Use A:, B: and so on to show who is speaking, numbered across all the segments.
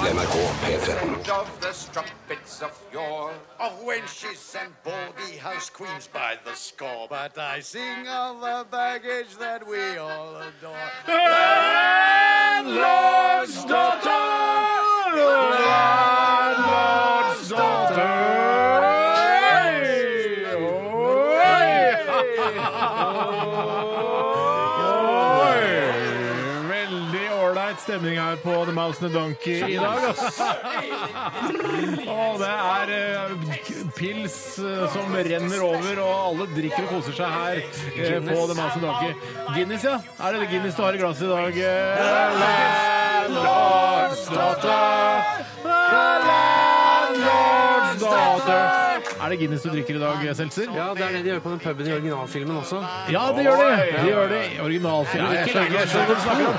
A: NRK P13.
B: of the strumpets of yore, of wenches and baldy house queens by the score. But I sing of the baggage that we all adore.
C: Veldig ålreit stemning her på The Mouse and the Donkey i dag, ass. Og det er eh, k- pils eh, som renner over, og alle drikker og koser seg her eh, på The Mouse and the Donkey. Guinness, ja. Er det Guinness du har i glasset i dag? eh? Er det Guinness du drikker i dag, Seltzer?
D: Ja, det er det de gjør på den puben i originalfilmen også.
C: Ja, det gjør det. Det gjør det. Originalfilm. Jeg skjønner jeg skjønner hva du snakker om.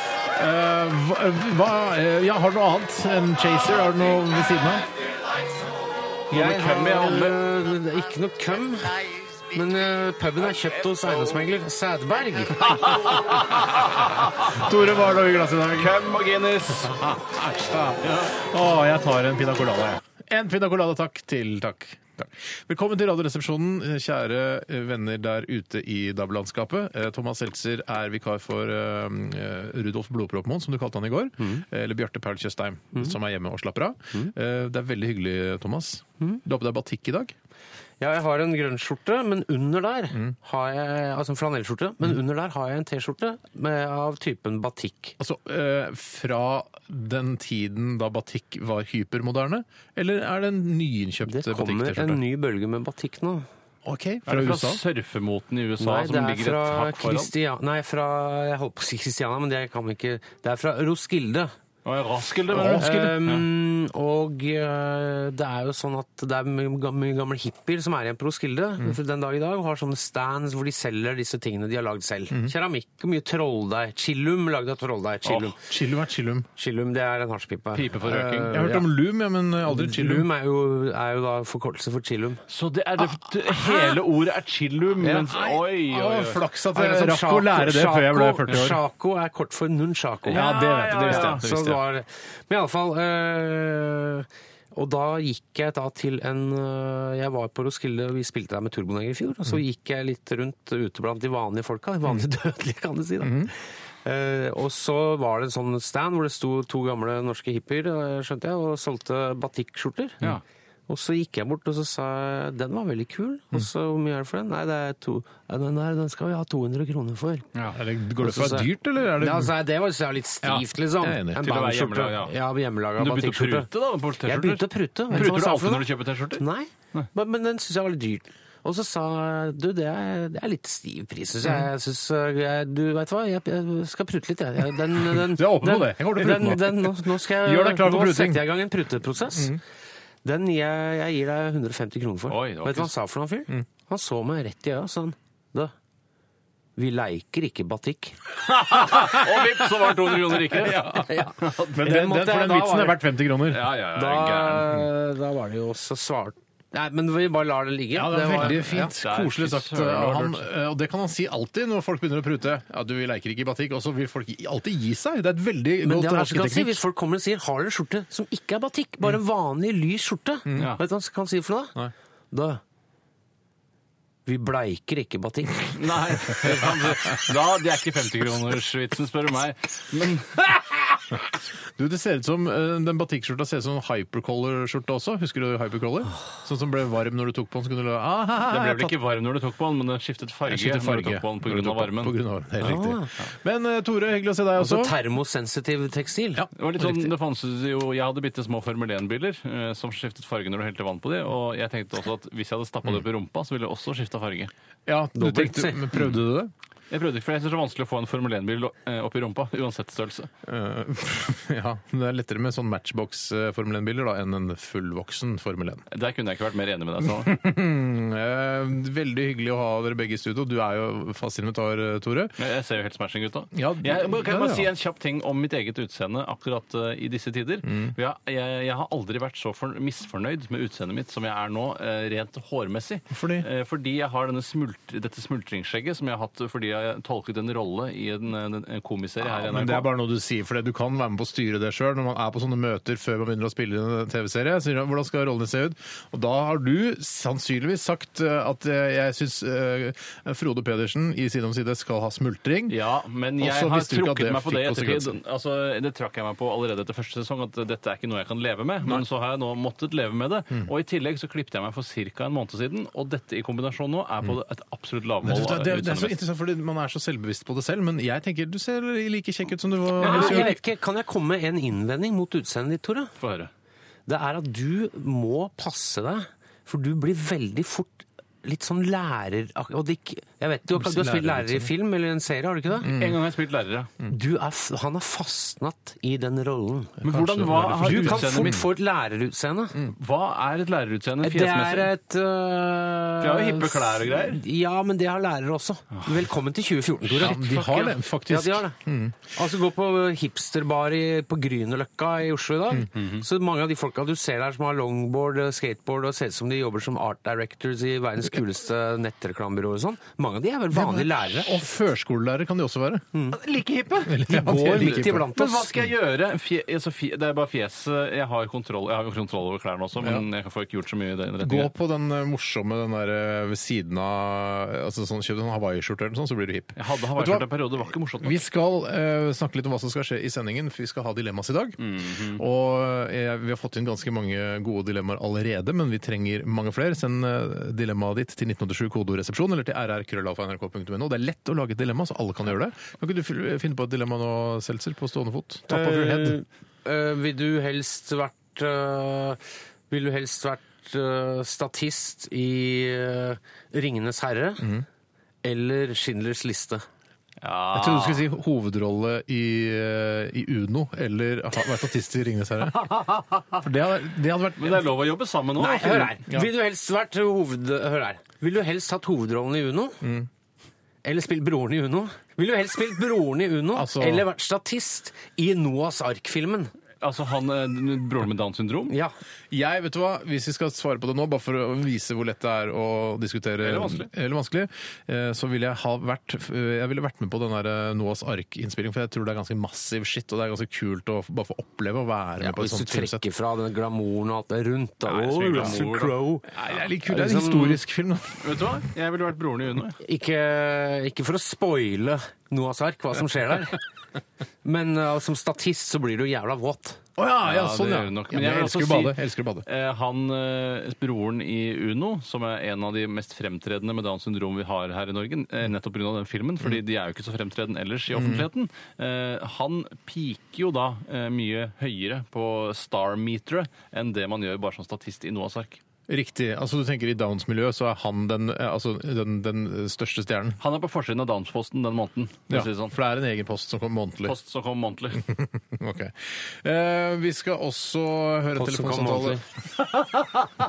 C: Eh, hva- hva, eh, ja, har du noe annet enn Chaser? Har du noe ved siden av?
D: Jeg har øh, ikke noe køm, men øh, puben er kjøpt hos eiendomsmegler Sædberg.
C: Tore, hva har du i glasset i dag?
E: Køm og Guinness.
C: Æsj, da. Å, jeg tar en pina colada, jeg. En pina colada, takk til takk. Takk. Velkommen til Radioresepsjonen, kjære venner der ute i DAB-landskapet. Eh, Thomas Seltzer er vikar for eh, Rudolf Blodproppmoen, som du kalte han i går. Eller Bjarte Paul Tjøstheim, som er hjemme og slapper av. Eh, Det er veldig hyggelig, Thomas. Du har på deg batikk i dag.
D: Ja, jeg har en grønn skjorte, men under der
E: Mm.
D: har jeg Altså en flanellskjorte, men under der har jeg en T-skjorte med- av typen batikk.
C: Altså, eh, Fra den tiden da batikk var hypermoderne, eller er det en nyinnkjøpt
D: Det kommer
C: batikk-T-skjorte?
D: en ny bølge med batikk nå.
C: Ok,
E: Er
C: fra
E: det fra
C: USA?
E: surfemoten i USA
D: Nei, det
E: som
D: er
E: ligger
D: fra
E: et hakk foran?
D: Christian... Nei, fra Jeg holdt på å si Christiana, men det kan vi ikke Det er fra Roskilde.
E: Å, ja, Raskilde,
C: Å,
E: mener du?
C: Roskilde.
D: Um, og eh, det er jo sånn at det er mye gam- mye gamle hippier som er igjen på Roskilde for den dag i dag, og har sånne stands hvor de selger disse tingene de har lagd selv. Keramikk, mye trolldeig. Chillum lagd av trolldeig. Chillum.
C: Chillum er chillum.
D: Chillum, det er en hasjpipe.
E: Pipe for
D: Eh,
E: røyking.
C: Jeg har hørt
D: ja.
C: om loom, ja, men eh, aldri chillum.
D: Chillum er jo, er jo da forkortelse for chillum.
E: Så det er det, det- hele ordet er chillum, mens Oi, oi,
C: Å,
E: oi.
C: Ah, flaks at
D: Det er
C: jeg
D: sånn
C: rakk å
D: Chaco-
C: lære det før jeg ble 40
D: Chaco-
C: år.
D: Chaco er kort for nunchaco.
C: Ja, det vet jeg, det visste jeg, det
D: Så
C: visste
D: det
C: jeg.
D: var, men iallfall øh, Og da gikk jeg da til en øh, Jeg var på Roskilde, og vi spilte der med Turboneger i fjor. Og så
C: Mm.
D: gikk jeg litt rundt ute blant de vanlige folka. De vanlige dødelige, kan du si. da.
C: Mm.
D: Eh, og så var det en sånn stand hvor det sto to gamle norske hippier, eh, skjønte jeg, og solgte batikkskjorter.
C: Mm.
E: Ja.
D: Og så gikk jeg bort og så sa jeg, den var veldig kul. Og
E: Mm.
D: så hvor mye er det for den? Nei, det er to. Ja, den, der, den skal vi ha 200 kroner for.
C: Er det- Går det for å
D: Så
C: være
D: sa jeg-
C: dyrt, eller er det
D: Ja, altså, det var så litt stivt,
C: Ja,
D: liksom.
C: jeg er enig.
D: En
E: Til å være
D: bandskjorte.
E: hjemmelaga.
D: Ja, hjemmelaga
E: Men du begynte å
D: batikkskjorte.
E: prute da på T-skjorter?
D: Jeg begynte å prute. Vet hva
E: Pruter du
D: jeg sa for
E: alltid
D: noe?
E: når du kjøper T-skjorter?
D: Nei, men, men den syns jeg var litt dyr. Og så sa jeg, du, det er, det er litt stiv pris, syns
C: Mm.
D: jeg. jeg, synes, eh, jeg du veit hva, jeg, jeg skal prute litt, jeg. Jeg- Den, den,
C: Du er åpen på
D: den-
C: det. Jeg kommer til å prute
D: den-
C: nå.
D: den- nå. Nå, skal jeg,
C: Gjør deg klar for
D: nå
C: pruting. Mm.
D: setter jeg i gang en pruteprosess. Den gir jeg, jeg gir deg 150 kroner for.
E: Oi, det var
D: vet du hva han
E: ikke-
D: sa for noe, han fyren?
C: Mm.
D: Han så meg rett i øya og sa han, du, vi leiker ikke batikk.
E: Og vips, så var det 200 kroner rikere!
C: Men den,
D: den altså,
C: den, for
D: måtte jeg-
C: den
D: da
C: vitsen
D: var
C: er verdt 50 kroner.
E: Ja, ja, ja, gæren.
D: Da, da var det jo også svart Nei, men vi bare lar det ligge.
C: Ja, det var veldig fint.
E: ja, det er
C: Koselig
E: fy
C: sagt
E: søren, det
C: av
E: var
C: han. Eh, Og det kan han si alltid når folk begynner å prute. Ja, du, vi leker ikke i batikk. Og så vil folk gi- alltid gi seg. Det er et veldig
D: Men det
C: godt
D: er verst kan si
C: hersketeknikk.
D: hvis folk kommer og sier 'har dere skjorte som ikke er batikk', bare en vanlig lys skjorte.
E: Ja.
D: Vet du hva han kan si for noe?
C: Nei.
D: Da Vi bleiker ikke batikk.
E: Nei, da, det er ikke 50-kronersvitsen, spør du meg. Men
C: Du, det ser ut som eh, Den batikkskjorta ser ut som en hypercolor-skjorte også. Husker du hypercolor? Sånn som ble varm når du tok på den. Så kunne du ah, ha, ha,
E: Den ble
C: jeg
E: vel ikke varm når du tok på den, men den skiftet farge,
C: Jeg skifter farge Ah.
E: når du tok på den på
C: når du
E: grunn av
C: tok på-
E: varmen. Altså,
C: På grunn av varmen, helt riktig. Men eh, Tore, hyggelig å se deg
D: Så
C: også.
D: Altså termosensitiv tekstil.
C: Ja,
E: Det var litt sånn,
C: riktig.
E: det fantes jo, Jeg hadde bitte små Formel 1-biler eh, som skiftet farge når du helte vann på dem. Og Mm. jeg tenkte også at hvis jeg hadde stappa det opp i rumpa, så ville det også skifta farge.
C: Ja, du
D: Dobbelt,
C: tenkte,
D: si.
C: men prøvde du det?
E: Jeg prøvde ikke, for jeg synes det er vanskelig å få en Formel 1-bil eh, opp i rumpa, uansett størrelse.
C: Eh, ja, men det er lettere med sånn matchbox eh, Formel 1-biler da, enn en fullvoksen Formel 1.
E: Der kunne jeg ikke vært mer enig med deg. Ståle.
C: Eh, veldig hyggelig å ha dere begge i studio. Du er jo fast invitar, eh, Tore.
E: Men Jeg ser jo helt smashing ut, da.
C: Ja,
E: jeg, må-
C: ja,
E: kan jeg
C: ja.
E: bare si en kjapp ting om mitt eget utseende akkurat eh, i disse tider?
C: Mm.
E: Jeg, jeg, jeg har aldri vært så for, misfornøyd med utseendet mitt som jeg er nå, eh, rent hårmessig.
C: Fordi?
E: Eh, fordi jeg har denne smult, dette smultringsskjegget som jeg har hatt fordi jeg tolket en rolle i en, en, en komiserie her i
C: men
E: NRK.
C: det er bare noe du sier, for det. du kan være med på å styre det sjøl. Når man er på sånne møter før man begynner å spille inn en TV-serie, sier man hvordan skal rollene se ut? Og da har du sannsynligvis sagt eh, at eh, jeg syns eh, Frode Pedersen i Side om side skal ha smultring.
E: Ja, men
C: Og
E: jeg
C: så
E: har
C: visste du ikke at
E: trukket
C: det
E: meg på det i
C: fikk
E: ettertid.
C: konsekvenser.
E: Altså, det trakk jeg meg på allerede etter første sesong, at dette er ikke noe jeg kan leve med. Men så har jeg nå måttet leve med det.
C: Hmm.
E: Og i tillegg så klippet jeg meg for ca. en måned siden, og dette i kombinasjon nå er på et absolutt
C: Jeg
E: lavmål.
C: synes Hmm. Det, det, det er så
E: utseendemessig.
C: interessant, fordi Man er så selvbevisst på det selv, men jeg tenker du ser like kjekk ut som du var.
D: Ah,
C: ellers i
D: jeg
C: år.
D: vet ikke, Kan jeg komme med en innvending mot utseendet ditt, Tore?
E: Få høre.
D: Det er at du må passe deg, for du blir veldig fort litt sånn lærer... Og det, ikke- jeg vet, du, har- du har spilt lærer i film eller en serie, har du ikke
C: Hmm.
D: det?
E: En gang har jeg spilt lærere.
D: Du er, f- han er fastnatt i den rollen.
E: Men hvordan, hva har
D: Du kan
E: utseendet
D: fort
E: mitt?
D: få et lærerutseende.
E: Hva er et lærerutseende
D: Det er
C: eh,
E: fjesmessig?
D: et øh,
E: Vi har jo hippe klær og greier. Ah.
D: Ja, men det har lærere også. Velkommen til 2014, Tore.
C: Ja, de har det, faktisk.
D: Ja, de har det.
E: Mm.
D: Altså, Gå på hipsterbar i, på Grünerløkka i Oslo i dag.
E: Mm. Mm-hmm.
D: Så mange av de folka du ser der som har longboard, øh, skateboard og ser ut som de jobber som art directors i verdens kuleste nettreklamebyrå og sånn, mange av de er vel vanlige lærere. Mm.
C: Og førskolelærer kan de også være.
E: Like hippe!
C: Ja,
D: De går
C: de liker
D: midt
C: på.
D: iblant
E: Men hva
D: oss.
E: skal jeg gjøre? Fje, altså, fje, det er bare fjeset jeg har kontroll Jeg har jo kontroll over klærne også, men jeg får ikke gjort så mye i den
C: Gå
E: retningen.
C: på den eh, morsomme den der eh, ved siden av eh, altså sånn, Kjøp en hawaiiskjorte eller noe sånt, så blir du hipp.
E: Jeg hadde
C: Vet du hva?
E: hawaiiskjorte en periode, det var ikke morsomt. nok.
C: Vi skal eh, snakke litt om hva som skal skje i sendingen, for vi skal ha dilemmas i dag. Og eh, vi har fått inn ganske mange gode dilemmaer allerede, men vi trenger mange flere. Send eh, dilemmaet ditt til 1987 kodoresepsjon eller til rrkrøllalfa.nrk.no. Det er lett å lage et dilemma, så alle kan gjøre det. Kan ikke du fyl- finne på et dilemma nå, Seltzer, på stående fot? Top of your head.
D: Eh, eh, vil du helst vært eh, Vil du helst vært eh, statist i eh, Ringenes herre
C: Mhm.
D: eller Schindlers liste?
E: Ja.
C: Jeg trodde du skulle si hovedrolle i, eh, i Uno eller ha- være statist i Ringenes herre. For det hadde, det hadde vært
E: Men det er lov å jobbe sammen nå.
D: Nei,
E: altså.
D: hør her. Vil du helst vært hoved... Hør her. Vil du helst hatt hovedrollen i Uno?
C: Mhm.
D: Eller spilt broren i Uno? Vil du helst spilt broren i Uno,
C: Altså-
D: eller vært statist i Noahs ark-filmen?
E: Altså han eh, broren med Downs syndrom?
D: Ja.
C: Jeg, vet du hva, Hvis vi skal svare på det nå, bare for å vise hvor lett det er å diskutere
E: Eller vanskelig.
C: eller vanskelig, eh, så ville jeg ha vært eh, jeg ville vært med på den der eh, Noahs ark-innspilling, for jeg tror det er ganske massiv shit, og det er ganske kult å f- bare få oppleve å være med på et
D: hvis du
C: sånt filmsett.
D: trekker fra den glamouren og alt det rundt da.
E: Nei, så mye
D: Åh,
E: glamour,
D: Russell
E: da.
D: Crowe.
C: Nei, det er litt kult. Det er en
D: liksom-
C: historisk film. da.
E: Vet du hva? Jeg ville vært broren i Uno. jeg.
D: Ikke, ikke for å spoile Noahs ark, hva som skjer der. Men uh, som statist så blir du jævla våt.
C: Å ja, ja,
E: Ja, det
C: sånn, ja.
E: gjør det nok.
C: ja
E: Men
C: men
E: jeg
C: jeg
E: vil
C: elsker å
E: også si-
C: bade. Jeg elsker å bade.
E: Eh, Han, eh, broren i Uno, som er en av de mest fremtredende med Downs syndrom vi har her i Norge,
C: Mm.
E: eh, nettopp pga. den filmen, fordi de er jo ikke så fremtredende ellers i offentligheten, eh, han piker jo da eh, mye høyere på star-meteret enn det man gjør bare som statist i Noahs ark.
C: Riktig. altså Du tenker i Downs-miljøet så er han den, eh, altså, den, den største stjernen.
E: Han er på forsiden av Downs-posten den måneden. for å
C: Ja,
E: si det sånn.
C: For det er en egen post som kommer månedlig.
E: Post som kom månedlig.
C: Ok. Eh, vi skal også høre en
D: Post som kom
C: telefonsamtale.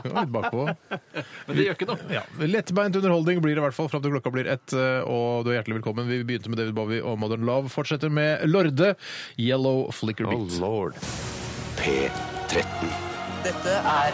C: Det var litt bakpå.
E: Men det gjør ikke noe.
C: Ja, Lettbeint underholdning blir det i hvert fall fram til klokka blir ett. eh, Og du er hjertelig velkommen. Vi begynte med David Bowie og Modern Love. Fortsetter med Lorde, Yellow Flicker
E: Oh,
C: Beat.
A: P13.
F: Dette er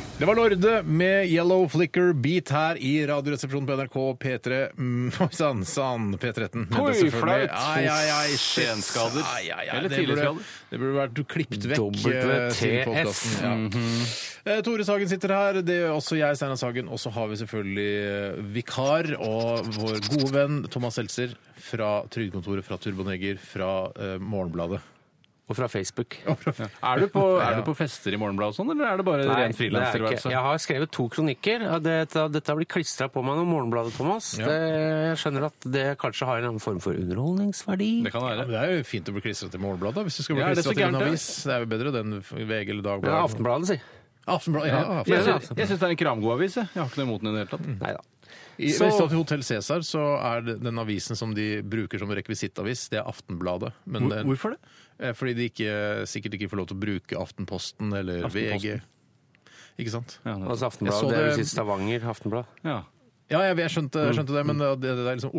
C: Det var Lorde med Yellow Flicker Beat her i Radioresepsjonen på NRK P3. Mm, Oi sann, sann, P13. Men
E: Oi,
C: det er selvfølgelig-
E: flaut.
C: Ai, ai, ai, shit.
E: Senskader.
C: Ai, ai, ai.
E: Eller
C: Det burde-
E: tidligskader.
C: Det burde vært klippet vekk. eh,
D: WTF.
C: til podcasten, ja.
E: Mhm.
C: Eh, Tore Sagen sitter her, det gjør også jeg, Steinar Sagen. Og så har vi selvfølgelig eh, vikar og vår gode venn Thomas Seltzer fra Trygdekontoret, fra Turboneger, fra eh, Morgenbladet.
D: og fra Facebook.
E: Er du på, er du på fester i Morgenbladet og sånn, eller er det bare
D: Nei, det er jeg
E: ren
D: ikke.
E: frilanstilværelse?
D: Jeg har skrevet to kronikker. og Dette, dette blir klistra på meg når Morgenbladet, Thomas.
C: Ja.
D: Det, jeg skjønner at det kanskje har en annen form for underholdningsverdi.
E: Det kan
C: Ja, men
E: være.
C: det er jo fint å bli klistret til Morgenbladet da, hvis du skal bli
E: Ja, er det
C: klistret
E: så
C: til en
E: gærent, det?
C: avis. Det er jo bedre den VG eller
D: Det er
C: Dagbladet.
D: Aftenbladet, si.
C: Aftenbladet, ja. Aftenbladet.
E: Jeg syns, jeg syns det er en kramgod avis. Jeg. jeg har ikke noe imot den i det hele tatt.
D: Nei da.
C: I
D: Så-
C: hvis du har Hotell Cæsar så er det den avisen som de bruker som rekvisittavis, det er Aftenbladet. Men
E: Hvor-
C: den-
E: Hvorfor det?
C: Eh, Fordi de ikke, sikkert ikke får lov til å bruke Aftenposten eller
E: Aftenposten.
C: VG. Ikke sant?
E: Ja, det,
C: Jeg
D: Altså
C: så
D: Aftenbladet, det er
C: det-
D: vel si Stavanger Aftenblad.
E: ja.
C: Ja, jeg, jeg skjønte, jeg skjønte det, men det, det er liksom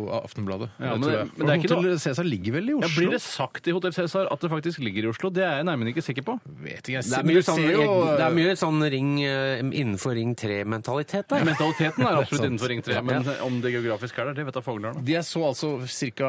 C: Oslo-Aftenbladet.
E: Ja,
C: det
E: men
C: tror
E: det-
C: jeg.
E: men det er ikke
C: Hotell Cæsar ligger vel i
E: ja,
C: Oslo?
E: Blir det sagt i Hotell Cæsar at det faktisk ligger i Oslo? Det er jeg nærmere ikke sikker på.
C: Vet ikke, jeg
D: Det
C: ser-
D: er
C: men du
D: mye sånn,
C: ser jo,
D: det er mye sånn ring, eh, innenfor Ring 3-mentalitet der.
E: Mentaliteten er
C: Det er
E: absolutt
C: sant.
E: innenfor Ring 3, men om det geografisk er der, det vet da foglerne.
C: De jeg så altså cirka,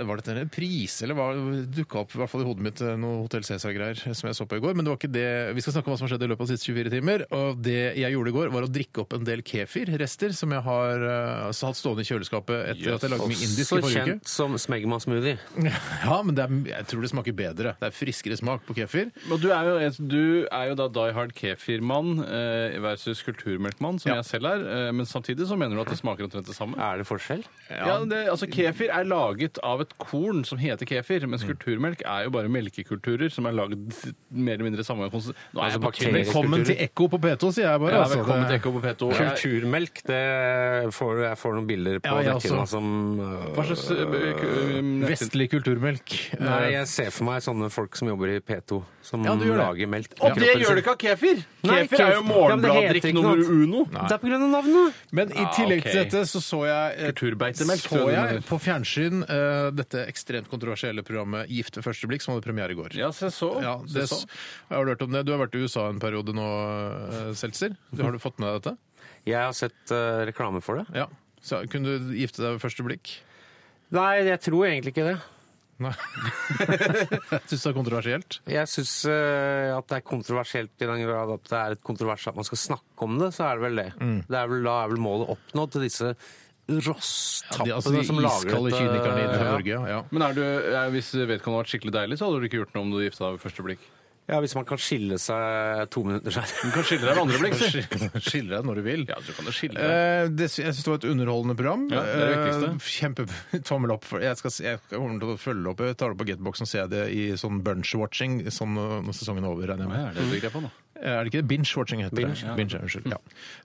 C: Var dette en pris, eller hva dukka opp i hvert fall i hodet mitt noe Hotell Cæsar-greier som jeg så på i går? Men det var ikke det Vi skal snakke om hva som har skjedd i løpet av de siste 24 timer. Og det jeg gjorde i går, var å drikke opp en del kefir-rester som jeg har eh, altså, hatt stående i kjøleskapet etter at jeg lagde mye indisk
D: Så
C: i forrige
D: kjent som Smegma-smoothie.
C: uke. Ja, men det er, jeg tror det smaker bedre. Det er friskere smak på kefir.
E: Og du er jo, du er jo da Die Hard Kefir-mann eh, versus kulturmelkmann, som
C: Ja.
E: jeg selv er. Eh, men samtidig så mener du at det smaker omtrent det samme.
D: Er det forskjell?
E: Ja, det, altså Kefir er laget av et korn som heter kefir, mens kulturmelk er jo bare melkekulturer som er lagd mer eller mindre samme konsist... Nå er
D: Altså
E: jeg på
D: bakterier.
E: tynn-
C: Velkommen til Ekko på P2, sier jeg bare.
E: Ja,
C: altså.
E: velkommen til
C: Det-
E: Ekko på P2. Jeg-
D: Kulturmelk, det får du Jeg får noen bilder på
C: Ja, jeg
D: netthinna
C: også.
D: som eh,
E: Hva slags
C: Øh,
E: eh, k- nettside-
C: Vestlig kulturmelk.
D: Nei,
C: Eh,
D: jeg ser for meg sånne folk som jobber i P2, som
C: Ja, du gjør det.
D: lager melk.
E: Og det gjør det ikke av kefir!
D: Nei,
E: Kefir er
D: kefir-
E: jo
D: Ja, men det heter
E: morgenbladdrikk
D: ikke
E: nummer
D: noe annet.
E: uno.
D: Det er på grunn av navnet!
C: Men i
E: Ah,
C: tillegg til
E: ok.
C: dette så så jeg eh,
E: Kulturbeitemelk,
C: Så
E: tror jeg du
C: jeg
E: mener.
C: på fjernsyn eh, dette ekstremt kontroversielle programmet Gift ved første blikk, som hadde premiere i går.
E: Ja, se så.
C: Ja,
E: Se
C: det,
E: så.
C: s- jeg har hørt om det. Du har vært i USA en periode nå, eh, Seltzer. Du- Har du fått med deg dette?
D: Jeg har sett eh, reklame for det.
C: Ja. Så, kunne du gifte deg ved første blikk?
D: Nei, jeg tror egentlig ikke det.
C: Nei. Syns du det er kontroversielt?
D: Jeg syns at det er kontroversielt i den grad at det er et kontrovers at man skal snakke om det, så er det vel det. det er vel, da er vel målet oppnådd til disse
C: Ja,
D: rosstappene
C: de, altså, de
D: som lager
C: iskalde kynikerne i Norge. Ja. Ja.
E: Men er du, er, hvis vedkommende hadde vært skikkelig deilig, så hadde du ikke gjort noe om du gifta deg ved første blikk.
D: Ja, hvis man kan skille seg to minutter
E: Du
D: seinere.
E: kan skille deg ved andre blikk, si.
C: Skiller deg når du vil.
E: Ja, du kan jo skille deg.
C: Eh, det, sy- jeg syns det var et underholdende program.
E: Ja, det er det viktigste.
C: Eh, kjempe tommel opp. For jeg, skal, se- jeg kommer til å følge opp. Jeg tar det på Getbox og ser det i sånn bunch-watching sånn når når sesongen er over, regner jeg
E: Hva
C: med.
E: er det du tenker på nå?
C: Eh, Er det ikke det? Binge-watching heter
D: Binge,
C: det. Binge, ja, unnskyld. Ja.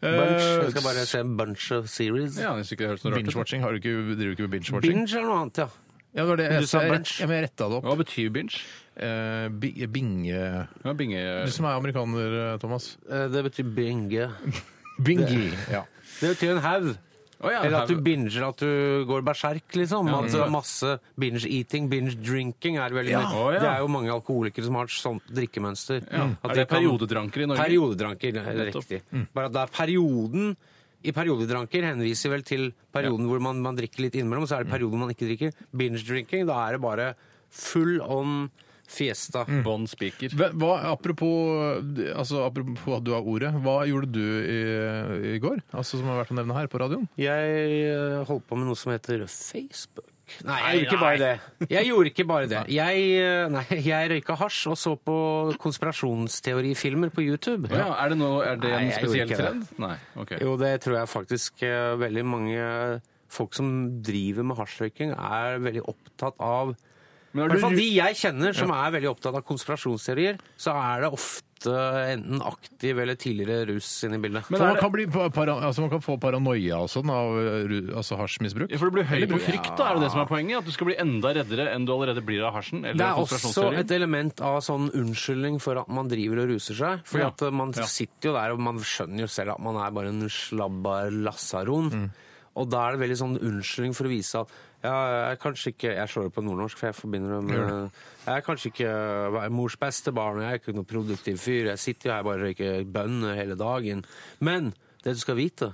D: Bunch.
C: Eh,
D: Jeg skal bare se en bunch of series.
E: Ja, hvis ikke det høres noe rart ut.
C: Binge-watching har du ikke, driver du ikke med binge-watching?
D: Binge er noe annet, ja.
C: Ja, det var det.
D: Du sa
C: jeg,
D: bunch.
C: jeg, jeg retta det opp.
E: Hva betyr binge?
C: Eh, bi- binge...
E: Ja, binge...
C: Du som er amerikaner, eh, Thomas.
D: Eh, Det betyr binge.
C: Binge. Ja.
D: Det betyr en haug.
E: Å ja,
D: Eller at du
E: her-
D: binger, at du går berserk, liksom. At det er masse binge-eating, binge-drinking er veldig mye.
E: Å, ja.
D: Det er jo mange alkoholikere som har et sånt drikkemønster. At
E: Er
D: de
E: det
D: kan-
E: periodedranker i Norge?
D: Periodedranker, det er
E: Nettopp. Mm.
D: riktig. Bare at det er perioden i periodedranker henviser vel til perioden hvor man, man drikker litt innimellom, og så er det
E: Mm.
D: perioden man ikke drikker. Binge-drinking, da er det bare full on fiesta.
E: Bånd spiker.
C: Hva, hva- apropos, altså, apropos at du har ordet, hva gjorde du i, i går? Altså, som har vært å nevne her på radioen?
D: Jeg eh, holdt på med noe som heter Facebook. Nei, jeg gjorde ikke
E: Nei,
D: bare det. Jeg gjorde ikke bare det. Jeg, eh, nei, jeg røyka hasj og så på konspirasjonsteorifilmer på YouTube.
E: Å ja, er det, noe, er det
D: Nei,
E: en
D: jeg gjorde
E: spesiell
D: ikke
E: trend?
D: det.
E: Nei, ok.
D: Jo, det tror jeg faktisk eh, veldig mange folk som driver med hasjrøyking, er veldig opptatt av
E: Men
D: I
E: er
D: hvert fall
E: du,
D: de jeg kjenner som er veldig opptatt av konspirasjonsteorier, så er det ofte enten aktiv eller tidligere rus inne i bildet.
C: For man, kan bli pa- para, altså, man kan få paranoia og sånn av eh, ru- altså, hasjmisbruk.
E: Ja, for du blir høy på frykt, da, er det det som er poenget? At du skal bli enda reddere enn du allerede blir av hasjen? Eller
D: Det er også
E: konspirasjonsteorien?
D: et element av sånn unnskyldning for at man driver og ruser seg. Fordi
E: Ja.
D: at eh, man sitter jo der, og man skjønner jo selv at man er bare en slabba lasaron.
E: Mm.
D: Og da er det veldig sånn unnskyldning for å vise at ja, jeg er kanskje ikke Jeg slår det på nordnorsk, for jeg forbinder det med Jeg er kanskje ikke hva er mors beste barn, og jeg er ikke noen produktiv fyr. Jeg sitter jo her bare og røyker bønner hele dagen. Men det du skal vite,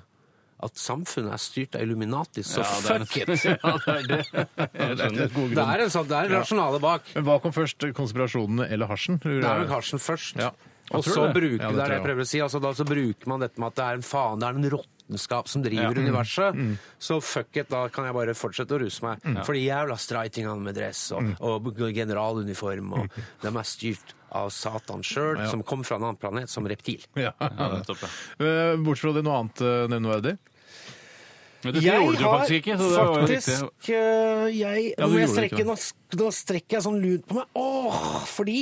D: at samfunnet er styrt av Illuminati, så
E: Ja, det
D: fuck
E: er-
D: it!
E: Ja, det er det. Jeg skjønner.
C: God
D: Det
C: grunn.
D: er en sånn, det er en rasjonale bak.
C: Men hva kom først, konspirasjonene eller hasjen?
D: Det er vel Karsten først.
C: Ja.
D: Og
C: Jeg tror
D: så
C: det.
D: bruker
C: Ja, det tror
D: det er det
C: jeg
D: jeg prøver å si. Altså, da så bruker man dette med at det er en faen, det er en rotte vitenskap som driver universet. Så fuck it, da kan jeg bare fortsette å ruse meg. Fordi jævla streitingene med dress og, og generaluniform, og de er styrt av Satan sjøl, som kom fra en annen planet som reptil.
C: Ja.
E: nettopp,
C: Eh, Bortsett fra det noe annet eh, nevneverdig.
E: Men dette gjorde du faktisk ikke, så det var jo riktig.
D: faktisk øh, jeg,
C: Ja, du
D: må jeg
C: gjorde det ikke,
D: strekke, nå, nå strekker jeg sånn lunt på meg. Åh, fordi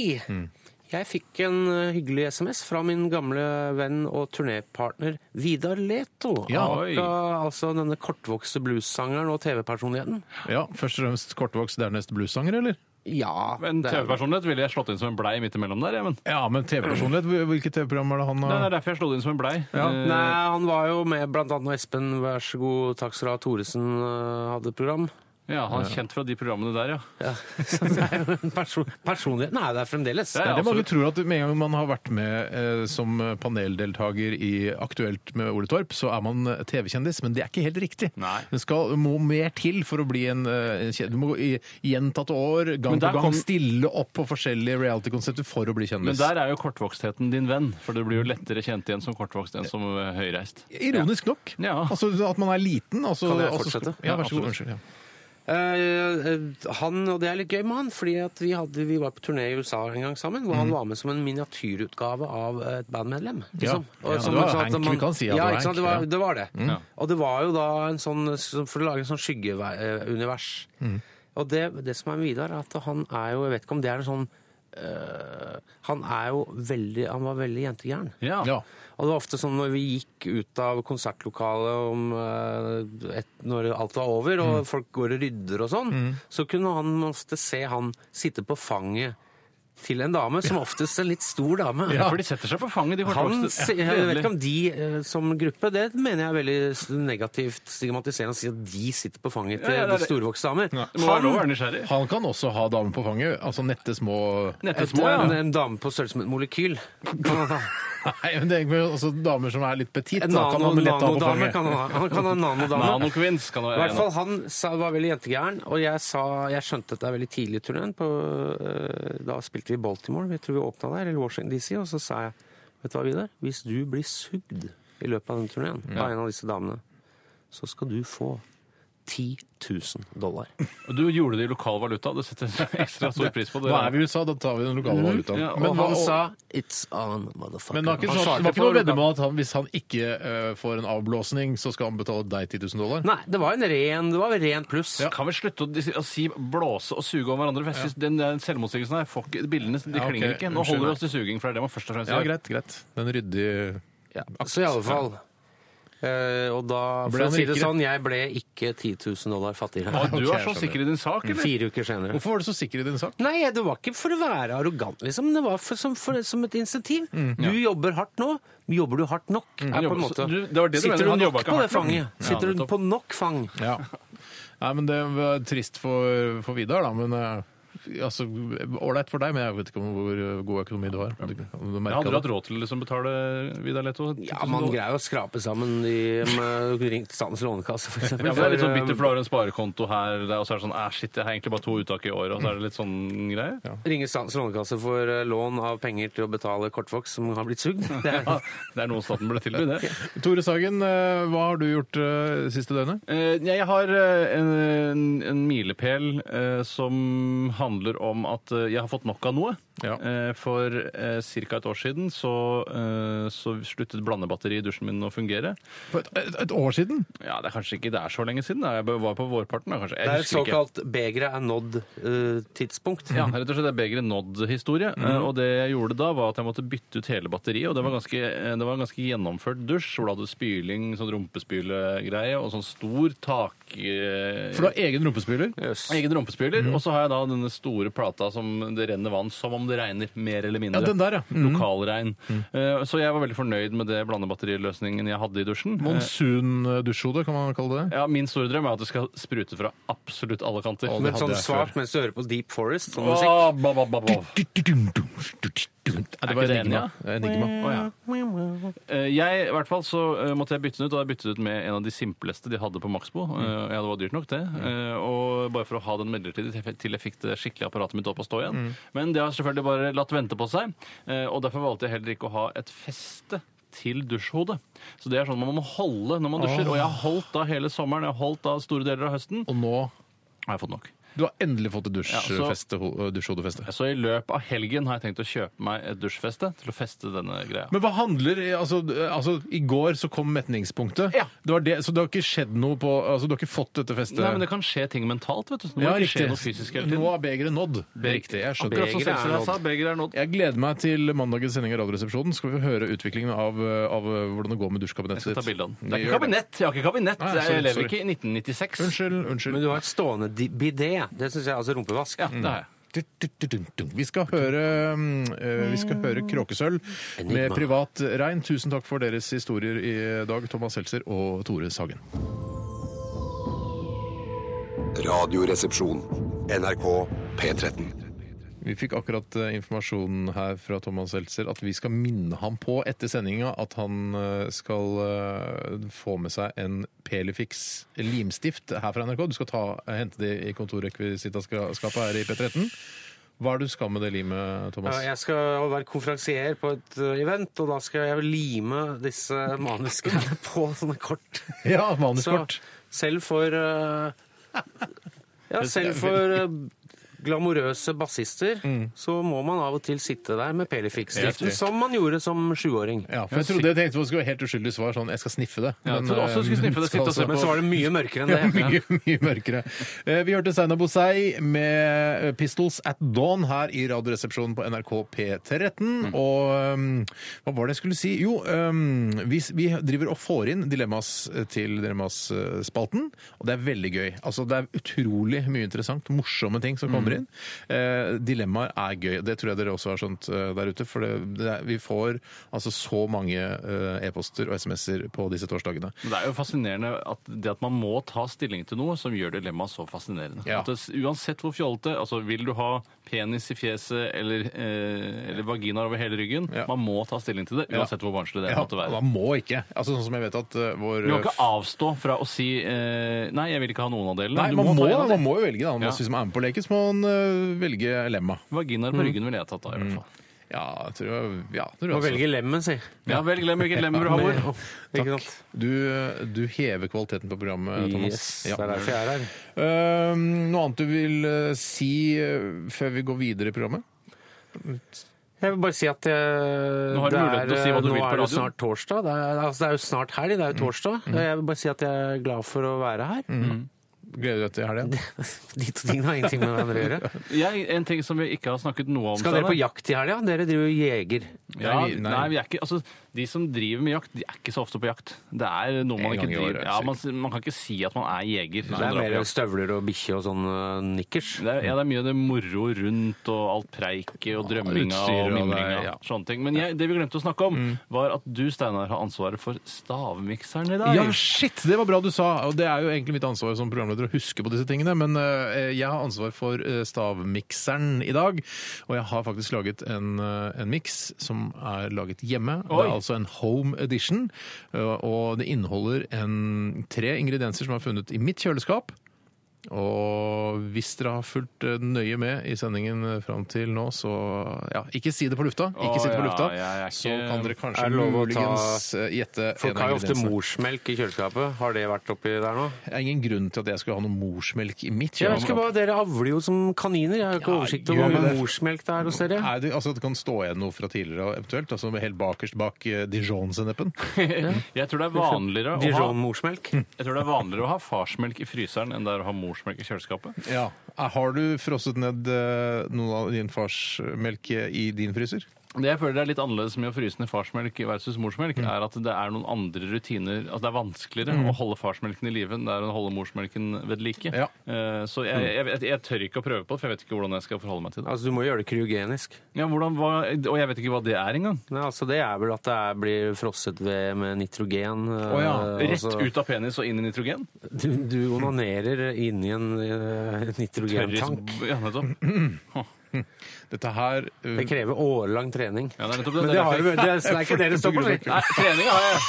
D: jeg fikk en øh, hyggelig SMS fra min gamle venn og turnépartner Vidar Leto.
C: Ja,
E: oi.
D: aka, altså denne kortvokste bluessangeren og TV-personligheten.
C: Ja, Først og fremst kortvokst, dernest bluessanger, eller?
D: Ja,
E: Men
D: det er-
E: TV-personlighet ville jeg slått inn som en blei midt imellom der, jeg, men.
C: Ja, men TV-personlighet, hvil- hvilke TV-program er det han
E: Nei, Det
C: har?
E: er derfor jeg slo det inn som en blei. Eh,
D: Nei, han var jo med blant annet når Espen Vær så god, takk skal du ha, Thoresen øh, hadde program.
E: Ja, han er kjent fra de programmene der, ja.
D: Ja. Så det er jo en person, personlighet Nei, det er fremdeles.
E: Det er altså-
C: Det er det mange
E: absolutt.
C: tror at med en gang man har vært med eh, som paneldeltaker i Aktuelt med Ole Torp, så er man eh, TV-kjendis, men det er ikke helt riktig.
E: Nei.
C: Det skal, må mer til for å bli en eh, en kjendis. Du må gå i gjentatte år,
E: Men
C: gang på
E: der
C: gang,
E: kom-
C: stille opp på forskjellige reality-konsepter for å bli
E: Men
C: kjendis.
E: der er jo kortvokstheten din venn, for du blir jo lettere kjent igjen som kortvokst enn som eh, høyreist.
C: Ironisk nok.
E: Ja.
C: Altså at man er liten. Altså,
D: Kan jeg
C: altså-
D: fortsette?
C: Ja, vær så
E: Ja,
C: god. Unnskyld. Ja.
D: Eh, eh, han, og det er litt gøy med han, fordi at vi, hadde, vi var på turné i USA en gang sammen, hvor
C: Mhm.
D: han var med som en miniatyrutgave av et bandmedlem. Liksom.
C: Ja. Ja, det var
D: sånn at
C: Hank, vi kan si at det
D: ja,
C: var
D: ikke
C: Hank,
D: sant, det var,
C: ja. Mhm.
D: det var det.
E: Ja.
D: Og det var jo da en sånn, så- for å lage en sånn skyggeunivers.
C: Mhm.
D: Og det, det som er med Vidar, er at han er jo, jeg vet ikke om det er en sånn eh, han er jo veldig Han var veldig jentegæren.
E: Ja.
C: Ja.
D: Og det var ofte sånn når vi gikk ut av konsertlokalet om, eh, et, når alt var over,
E: Mm.
D: og folk går og rydder og sånn, så kunne han ofte se han sitte på fanget til en dame, som oftest en litt stor dame.
E: Ja, for de setter seg på fanget, de
D: Han,
E: kortvokste.
D: se- jeg vet ikke om de eh, som gruppe, det mener jeg er veldig s- negativt stigmatiserende å si at de sitter på fanget til
E: Ja, ja, det er det.
D: storvokste damer.
E: Det må være lov å være nysgjerrig.
C: Han kan også ha damer på fanget. Altså nette små
D: Et,
E: Nettesmå,
D: en,
E: ja.
D: en dame på størrelse med et molekyl. Kan han ha.
C: Nei, men det er egentlig også damer som er litt petit.
D: En
C: Da kan
D: nano-
C: man lett ha på
D: nanodame
C: fanget.
D: kan han ha. Han kan ha en nanodame.
E: Nanokvinns kan det
D: I
E: være.
D: hvert fall han sa, var veldig jentegæren, og jeg, sa, jeg skjønte dette veldig tidlig i turneen. øh, Da spilte vi i Baltimore, vi tror vi åpna der, eller Washington DC, og så sa jeg Vet du hva, Vidar? Hvis du blir sugd i løpet av den turneen
C: Mm.
D: av en av disse damene, så skal du få 10 000 dollar.
E: Og Du gjorde det i lokal valuta, det setter jeg ekstra stor pris på. Det.
C: Nå er vi i USA, da tar vi den lokale valutaen.
E: Ja, og
C: Men
D: og
C: hva-
D: han sa It's on, motherfucker.
C: Men det var ikke,
D: Han
C: sånn,
D: svarte
C: det var ikke
D: på
C: noe veddemål at han, hvis han ikke eh, får en avblåsning, så skal han betale deg 10 000 dollar?
D: Nei, det var en ren, det var en ren pluss.
E: Kan vi slutte å, dis- å si blåse og suge om hverandre? For jeg synes Den der selvmotsigelsen her, får ikke- bildene de
C: Ja, ok.
E: klinger ikke. Nå
C: Unnskyld,
E: holder vi
C: nei.
E: oss til suging, for det er det man først og fremst
C: Ja,
E: gjør.
C: greit, greit. Den ryddige
D: Ja, Så i alle fall øh, Og da,
C: Ble
D: for å
C: han
D: si det
C: rikere?
D: sånn, jeg ble ikke 10 000 dollar fattigere.
E: Og
C: Ok,
E: du er så
C: jeg skjønner.
E: sikker i din sak, eller?
D: Fire uker senere.
C: Hvorfor var du så sikker i din sak?
D: Nei, det var ikke for å være arrogant, liksom. Det var for, som, for, som et insentiv. Du jobber hardt nå. Jobber du hardt nok? er på
E: Mm. jobber-
D: en måte.
E: så du- det var det du mener,
D: Sitter du
E: han
D: nok
E: jobba ikke
D: på det
E: hardt nok. Mm.
D: fanget?
E: Ja,
D: Sitter du
E: nettopp.
D: på nok fang?
C: Ja. Nei, men det var trist for, for Vidar, da. Men eh, altså, ålreit for deg, men jeg vet ikke om hvor eh, god økonomi du har. Om du, om du
E: Jeg
C: merket
E: hadde du hatt
C: det.
E: råd til å liksom, betale Vidar Letto? 10 000
D: Ja, man
E: dollar?
D: greier å skrape sammen de med ringt Statens lånekasse, for eksempel.
E: Ja, for det er litt sånn
D: For,
E: bitter, for du har en sparekonto her, der, og så er det sånn Æh, shit, jeg har egentlig bare to uttak i året, og så er det litt sånn greier. Ja.
D: eh, Ringe Statens lånekasse for eh, lån av penger til å betale kortvoks som har blitt sugd. Det er
E: det er noe staten burde tilby, det.
C: Tore Sagen, eh, hva har du gjort eh, siste døgnet?
E: Eh, jeg har eh, en, en, en milepæl eh, som handler om at eh, jeg har fått nok av noe.
C: Ja.
E: Eh, for eh, ca. et år siden så, eh, så sluttet blandebatteriet i dusjen min å fungere.
C: For et, et, et år siden?
E: Ja, Det er kanskje ikke det er så lenge siden. da. Jeg var på vårparten, da, kanskje. Jeg
D: det er et
E: husker ikke.
D: såkalt begeret er eh, nådd-tidspunkt.
E: Ja, rett og slett det er begeret nådd-historie. Eh, Og det jeg gjorde da, var at jeg måtte bytte ut hele batteriet. Og det var ganske, eh, det var en ganske gjennomført dusj, hvor du hadde spyling, sånn rumpespylegreie, og sånn stor tak... eh,
C: For du har egen rumpespyler?
E: Egen rumpespyler.
C: Mhm.
E: Og så har jeg da denne store plata som det renner vann som om det regner, mer eller mindre.
C: Ja, den der, ja. Mhm.
E: Lokalregn. Eh, Så jeg var veldig fornøyd med det blandebatteriløsningen jeg hadde i dusjen. Eh,
C: Monsun-dusjhode, kan man kalle det?
E: Ja, Min store drøm er at det skal sprute fra absolutt alle kanter.
C: Å, det
D: Men
C: hadde
D: sånn
C: jeg
D: svart mens du hører på Deep Forest. Sånn musikk.
E: Åh, ba, ba, ba, ba.
C: Ja, det
E: Er ikke
C: var
E: det
C: enigma.
E: Enja?
C: enigma.
E: Å, ja. Eh, Jeg, i hvert fall, så eh, måtte jeg bytte den ut, og jeg byttet den ut med en av de simpleste de hadde på Maxbo. Eh,
C: Mm.
E: Ja, det var dyrt nok, det. Eh, Og bare for å ha den midlertidig til jeg fikk- til jeg fikk det skikkelige apparatet mitt opp og stå
C: Mm.
E: igjen. Men det har selvfølgelig bare latt vente på seg, eh, og derfor valgte jeg heller ikke å ha et feste til dusjhodet. Så det er sånn man må holde når man dusjer. Og jeg har holdt da hele sommeren, jeg har holdt da store deler av høsten.
C: Og nå
E: Har jeg fått nok.
C: Du har endelig fått et dusjfeste,
E: dusjfeste-
C: dusjhodefeste.
E: Så i løpet av helgen har jeg tenkt å kjøpe meg et dusjfeste til å feste denne greia.
C: Men hva handler altså, altså, I går så kom metningspunktet.
E: Ja.
C: Det var det, så du har ikke skjedd noe på altså, Du har ikke fått dette festet?
E: Nei, men det kan skje ting mentalt, vet du. Det må
C: ja,
E: ikke
C: riktig.
E: skje noe fysisk hele tiden.
C: Nå er begeret nådd. Riktig. Jeg skjønner.
E: Akkurat som
D: Begeret er
E: Seltzer
D: nådd.
E: sa, begeret er nådd.
C: Jeg gleder meg til mandagens sending av Radioresepsjonen. Skal vi høre utviklingen av, av hvordan det går med
E: Jeg skal
C: dusjkabinettet
E: ta bilde av den.
C: Vi
E: Det er ikke
C: gjør det.
E: kabinett! Jeg har ikke kabinett.
C: Nei,
E: Jeg
C: sorry,
E: lever
C: sorry.
E: ikke i 1996.
C: Unnskyld,
D: Men
C: unnskyld.
D: du har et stående di- bidé. Det syns jeg altså rumpevask.
E: Ja, det har jeg.
C: Vi skal høre, mm, eh, vi skal høre Kråkesølv med Privat Rein. Tusen takk for deres historier i dag, Thomas Seltzer og Tore Sagen.
G: Radioresepsjon. NRK P13.
C: Vi fikk akkurat eh, informasjon her fra Thomas Seltzer at vi skal minne ham på etter sendinga at han eh, skal eh, få med seg en Pelifix limstift her fra NRK. Du skal ta, eh, hente det i kontorrekvisitaskapet her i P13. Hva er det du skal med det limet,
D: Ja,
C: Thomas?
D: Jeg skal være konferansier på et ø, event, og da skal jeg lime disse manuskene på sånne kort.
C: Ja,
D: Så
C: manuskort.
D: selv for ø, Ja, selv for ø, glamorøse bassister så må man av og til sitte der med Pelifix-driften,
C: Mm. Helt riktig.
D: som man gjorde som sjuåring.
C: Ja, for jeg trodde jeg tenkte det skulle være helt uskyldig svar, sånn 'jeg skal sniffe det'.
E: Ja, jeg trodde også du skulle sniffe det,
C: skal
E: sitte og se
C: altså-
D: Men så var det mye mørkere enn
C: Ja,
D: det.
C: mye, mye mørkere. Eh, Vi hørte Steinar Bosei med eh, Pistols at Dawn her i Radioresepsjonen på NRK P13. Og um, hva var det jeg skulle si? Jo, um, vi, vi driver og får inn dilemmas eh, til Dilemmas-spalten, og det er veldig gøy. Altså, det er utrolig mye interessant, morsomme ting som kommer inn. Eh, dilemmaer er gøy. Det tror jeg dere også har skjønt eh, der ute, for det, det er, vi får altså så mange eh, e-poster og SMS-er på disse torsdagene.
E: Men det er jo fascinerende at det at man må ta stilling til noe som gjør dilemmaet så fascinerende.
C: Ja.
E: At det, uansett hvor fjollete altså Vil du ha penis i fjeset eller, eh, eller vagina over hele ryggen?
C: Ja.
E: Man må ta stilling til det, uansett hvor barnslig det
C: Ja,
E: måtte være.
C: Man må ikke. Altså sånn som jeg vet at uh, vår
E: Du kan ikke avstå fra å si eh, 'nei, jeg vil ikke ha noen av delene'.
C: Nei,
E: Du
C: man må,
E: ta en av
C: man
E: delene.
C: må jo velge, da. Men
E: Ja.
C: Hvis man er med på leken, så må man uh, velge lemma.
E: Vaginaer
C: Mm.
E: på ryggen ville jeg tatt da, i hvert fall.
C: Ja, jeg tror jeg, ja, jeg tror
D: Må
C: jeg også.
D: velge lemmen, si.
E: Ja, vel, glem hvilket lem du har hvor.
D: Med- Ikke sant?
C: Du, uh, du hever kvaliteten på programmet, Thomas.
D: Yes, det er derfor jeg er her.
C: Uh, noe annet du vil uh, si uh, før vi går videre i programmet?
D: Jeg vil bare si at jeg,
E: Nå har du
D: det
E: muligheten til å si hva du
D: nå
E: vil på
D: er det jo
E: radioen. Mm.
D: snart torsdag. Det er, altså, det er jo snart helg, det er jo torsdag. Jeg vil bare si at jeg er glad for å være her.
C: Gleder du deg til helga?
D: De to tingene har ingenting med hverandre å gjøre.
E: Jeg, en ting som vi ikke har snakket noe om
D: Skal dere
E: Steinar.
D: på jakt i helga? Dere driver jo jeger.
E: Ja,
C: Nei,
E: nei,
C: nei.
E: vi er ikke, altså, de som driver med jakt, de er ikke så ofte på jakt. Det er noe man
C: En
E: ikke
C: gang i
E: driver
C: året,
E: ja, man, man kan ikke si at man er jeger. som
D: Det er
E: drar på
D: mer
E: jakt.
D: støvler og bikkje og sånn eh, nikkers.
E: det er, ja, det er mye av det moro rundt og alt preiket og drømminga
C: utstyr og
E: og
C: det-
E: mimringa.
C: ja.
E: Sånne ting. Men jeg, det vi glemte å snakke om, var at du, Steinar, har ansvaret for stavmikseren i dag.
C: Ja, shit! Det var bra du sa. Og det er jo egentlig mitt ansvar som programleder å huske på disse tingene. Men eh, jeg har ansvar for eh, stavmikseren i dag. Og jeg har faktisk laget en, eh, en miks som er laget hjemme. Det
E: Oi.
C: er altså en home edition. eh, og det inneholder en, tre ingredienser som er funnet i mitt kjøleskap. Og hvis dere har fulgt eh, nøye med i sendingen eh, fram til nå, så ja, ikke si det på lufta. Ikke
E: Å,
C: si det på
E: ja,
C: lufta.
E: jeg er ikke-
C: Så kan dere kanskje
D: Er det lov å ta-
C: muligens eh, gjette en
D: Folk
C: av
D: har jo ofte
C: ingrediensene.
D: morsmelk i kjøleskapet. Har det vært oppi der nå?
C: Det er ingen grunn til at jeg skulle ha noe morsmelk i mitt
D: Jeg husker bare, Dere avler jo som kaniner. Jeg har jo ikke
C: Ja,
D: oversikt over
C: gjør
D: hvor
C: det.
D: mye morsmelk det er hos dere.
C: Nei, det, altså, det kan stå igjen noe fra tidligere, eventuelt. Altså Helt bakerst bak eh, dijon-sennepen.
E: Jeg tror det er vanligere å ha,
D: Dijon-morsmelk.
E: jeg tror det er vanligere å ha farsmelk i fryseren enn det er å ha morsmelk i kjøleskapet.
C: Ja. Eh, Har du frosset ned eh, noe av din fars melk i din fryser?
E: Det jeg føler er litt annerledes med å fryse ned farsmelk versus morsmelk, er at det er noen andre rutiner Altså det er vanskeligere å holde farsmelken i live enn det er å holde morsmelken ved like.
C: Ja.
E: Eh, Så jeg, jeg, jeg, jeg tør ikke å prøve på det, for jeg vet ikke hvordan jeg skal forholde meg til det.
D: Altså, Du må gjøre det kryogenisk.
E: Ja, hvordan, hva, og jeg vet ikke hva det er engang.
D: Nei, altså Det er vel at det er, blir frosset ved med nitrogen. eh, altså,
C: Å ja,
E: Rett ut av penis og inn i nitrogen?
D: Du, du onanerer inni en eh, nitrogentank.
E: Tørris- Ja, nettopp.
C: Dette her eh,
D: Det krever årelang trening.
E: Ja, det er nettopp det.
D: Men
E: Det
D: det,
E: er
D: har jo,
E: derfor-
D: det, er- det er ikke det det står på.
E: Nei, treninga har jeg.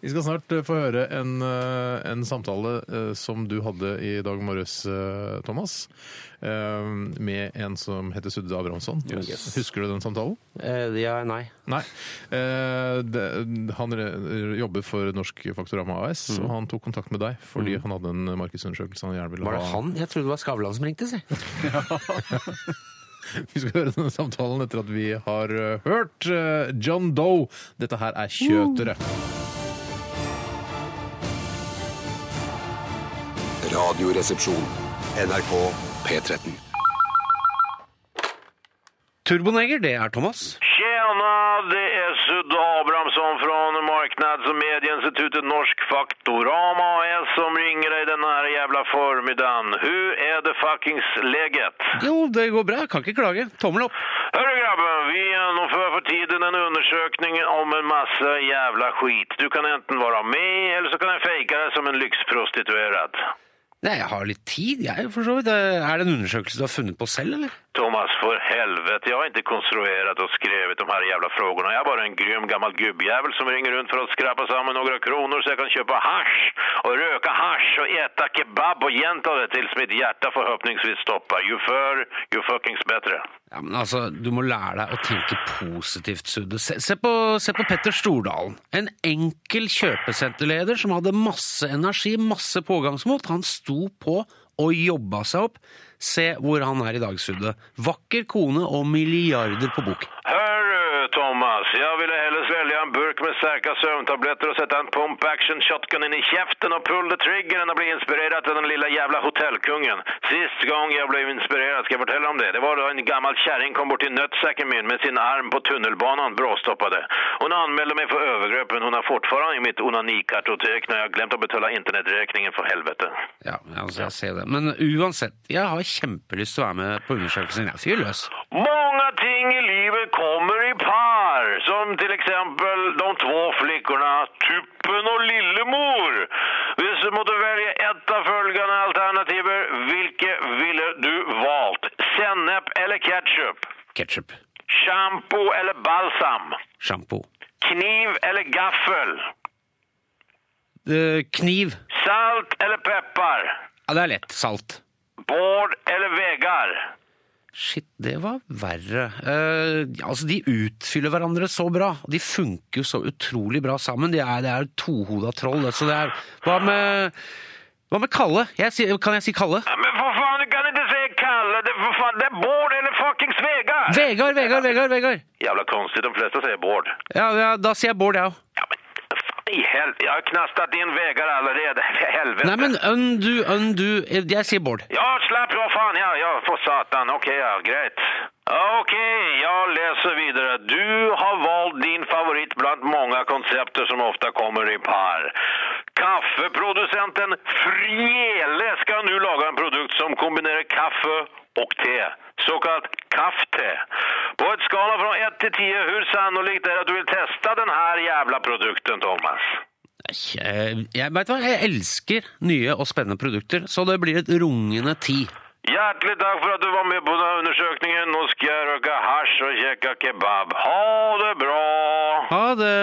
C: Vi skal snart eh, få høre en, eh, en samtale eh, som du hadde i dag morges, eh, Thomas, eh, med en som heter Sudde Abrahamsson. Husker du den samtalen?
D: Eh, ja, nei.
C: Nei. Eh, det, han re- jobber for Norsk Faktorama AS, og han tok kontakt med deg fordi han hadde en markedsundersøkelse han gjerne ville
D: Var det
C: ha.
D: han? Jeg trodde det var Skavlan som ringte, si.
C: Vi skal høre denne samtalen etter at vi har eh, hørt eh, John Doe. Dette her er Kjøtere.
G: Radioresepsjon. NRK P13.
D: Turboneger, det er Thomas.
H: Tjena, det är Sudde Abrahamsson från Marknads- och medieinstitutet Norsk Faktorama AS som ringer dig den här jävla förmiddagen. Hur är det fuckings läget?
D: Jo, det går bra. Kan ikke klage. Tommel opp.
H: Hörru grabben, vi genomför för tiden en undersökning om en massa jävla skit. Du kan enten vara med eller så kan jag fejka dig som en lyxprostituerad.
D: Nei, jeg har litt tid, jeg, for så vidt. Eh, Er det en undersøkelse du har funnet på selv, eller?
H: Thomas, för helvete, jag har inte konstruerat och skrivit de här jävla frågorna. Jag är bara en grym gammal gubbjävel som ringer runt för att skrapa samman några kronor så jag kan köpa hasch och röka hasch och äta kebab och jänta det tills mitt hjärta förhoppningsvis stoppar. Ju förr, ju fuckings bättre.
D: Ja, men altså, Du må lære deg å tenke positivt, Sudde. Se, se, på, se på Petter Stordalen. En enkel kjøpesenterleder som hadde masse energi, masse pågangsmot. Han sto på og jobba seg opp. Se hvor han er i dag, Sudde. Vakker kone og milliarder på bok.
H: Hörru, Thomas, jag ville hellre svälja en burk med starka sömntabletter och sätta en pump action shotgun in i käften och pull the trigger än att bli inspirerad av den lilla jävla hotellkungen. Sist gång jag blev inspirerad, ska jag fortälla om det? Det var då en gammal kärring kom bort till nötsäcken min med sin arm på tunnelbanan bråstoppade. Hon anmälde mig för övergrepp, men hon har fortfarande i mitt onanikartotek när jag glömt att betala interneträkningen för helvete.
D: Ja, altså, jeg ser det. Men uansett, jeg har kjempelyst til å være med på undersøkelsen. Jeg fyrer løs.
H: Många ting i livet kommer i par. Som till exempel de två flickorna Tuppen och Lillemor. Hvis du måtte välja ett av följande alternativer, vilket ville du valt? Sennep eller ketchup?
D: Ketchup.
H: Shampoo eller balsam?
D: Sjampo.
H: Kniv eller gaffel?
D: Eh, kniv.
H: Salt eller peppar?
D: Ja, det er lett. Salt.
H: Bård eller väggar?
D: Shit, det var verre. Eh, ja, altså, de utfyller hverandre så bra. og De funker jo så utrolig bra sammen. De er, det er tohoda troll. det, Så det er Hva med hva med Kalle? Jeg sier- kan jeg si Kalle?
H: Ja, Men för fan, du kan inte säga Kalle. Det, för fan, det är Bård eller fucking Svegar.
D: Vegard, Vegard, Vegard! Vegard.
H: Jävla konstigt, de flesta säger Bård.
D: Ja, ja, Da sier jeg Bård, jeg òg.
H: Ja, men fan i helvete. Jag har knastat in vägar allerede. Helvete.
D: Nei, men Undu, Undu eh, Jeg sier Bård.
H: Ja, slapp av fan. Ja, ja, för satan. Okej, ja, grejt. Ja, Okej, jag läser vidare. Du har valt din favorit bland många koncepter som ofta kommer i par. Kaffeproducenten Friele ska nu laga en produkt som kombinerar kaffe och te. Så kallat kaffe. På ett skala från 1 till 10, hur sannolikt är det att du vill testa den här jävla produkten, Thomas?
D: Eh, Jeg vet hva, jeg elsker nye og spennende produkter, så det blir et rungende ti.
H: Hjertelig takk for at du var med på denne undersøkningen. Nå skal jeg røke hasj og kjekke kebab. Ha det bra!
D: Ha det!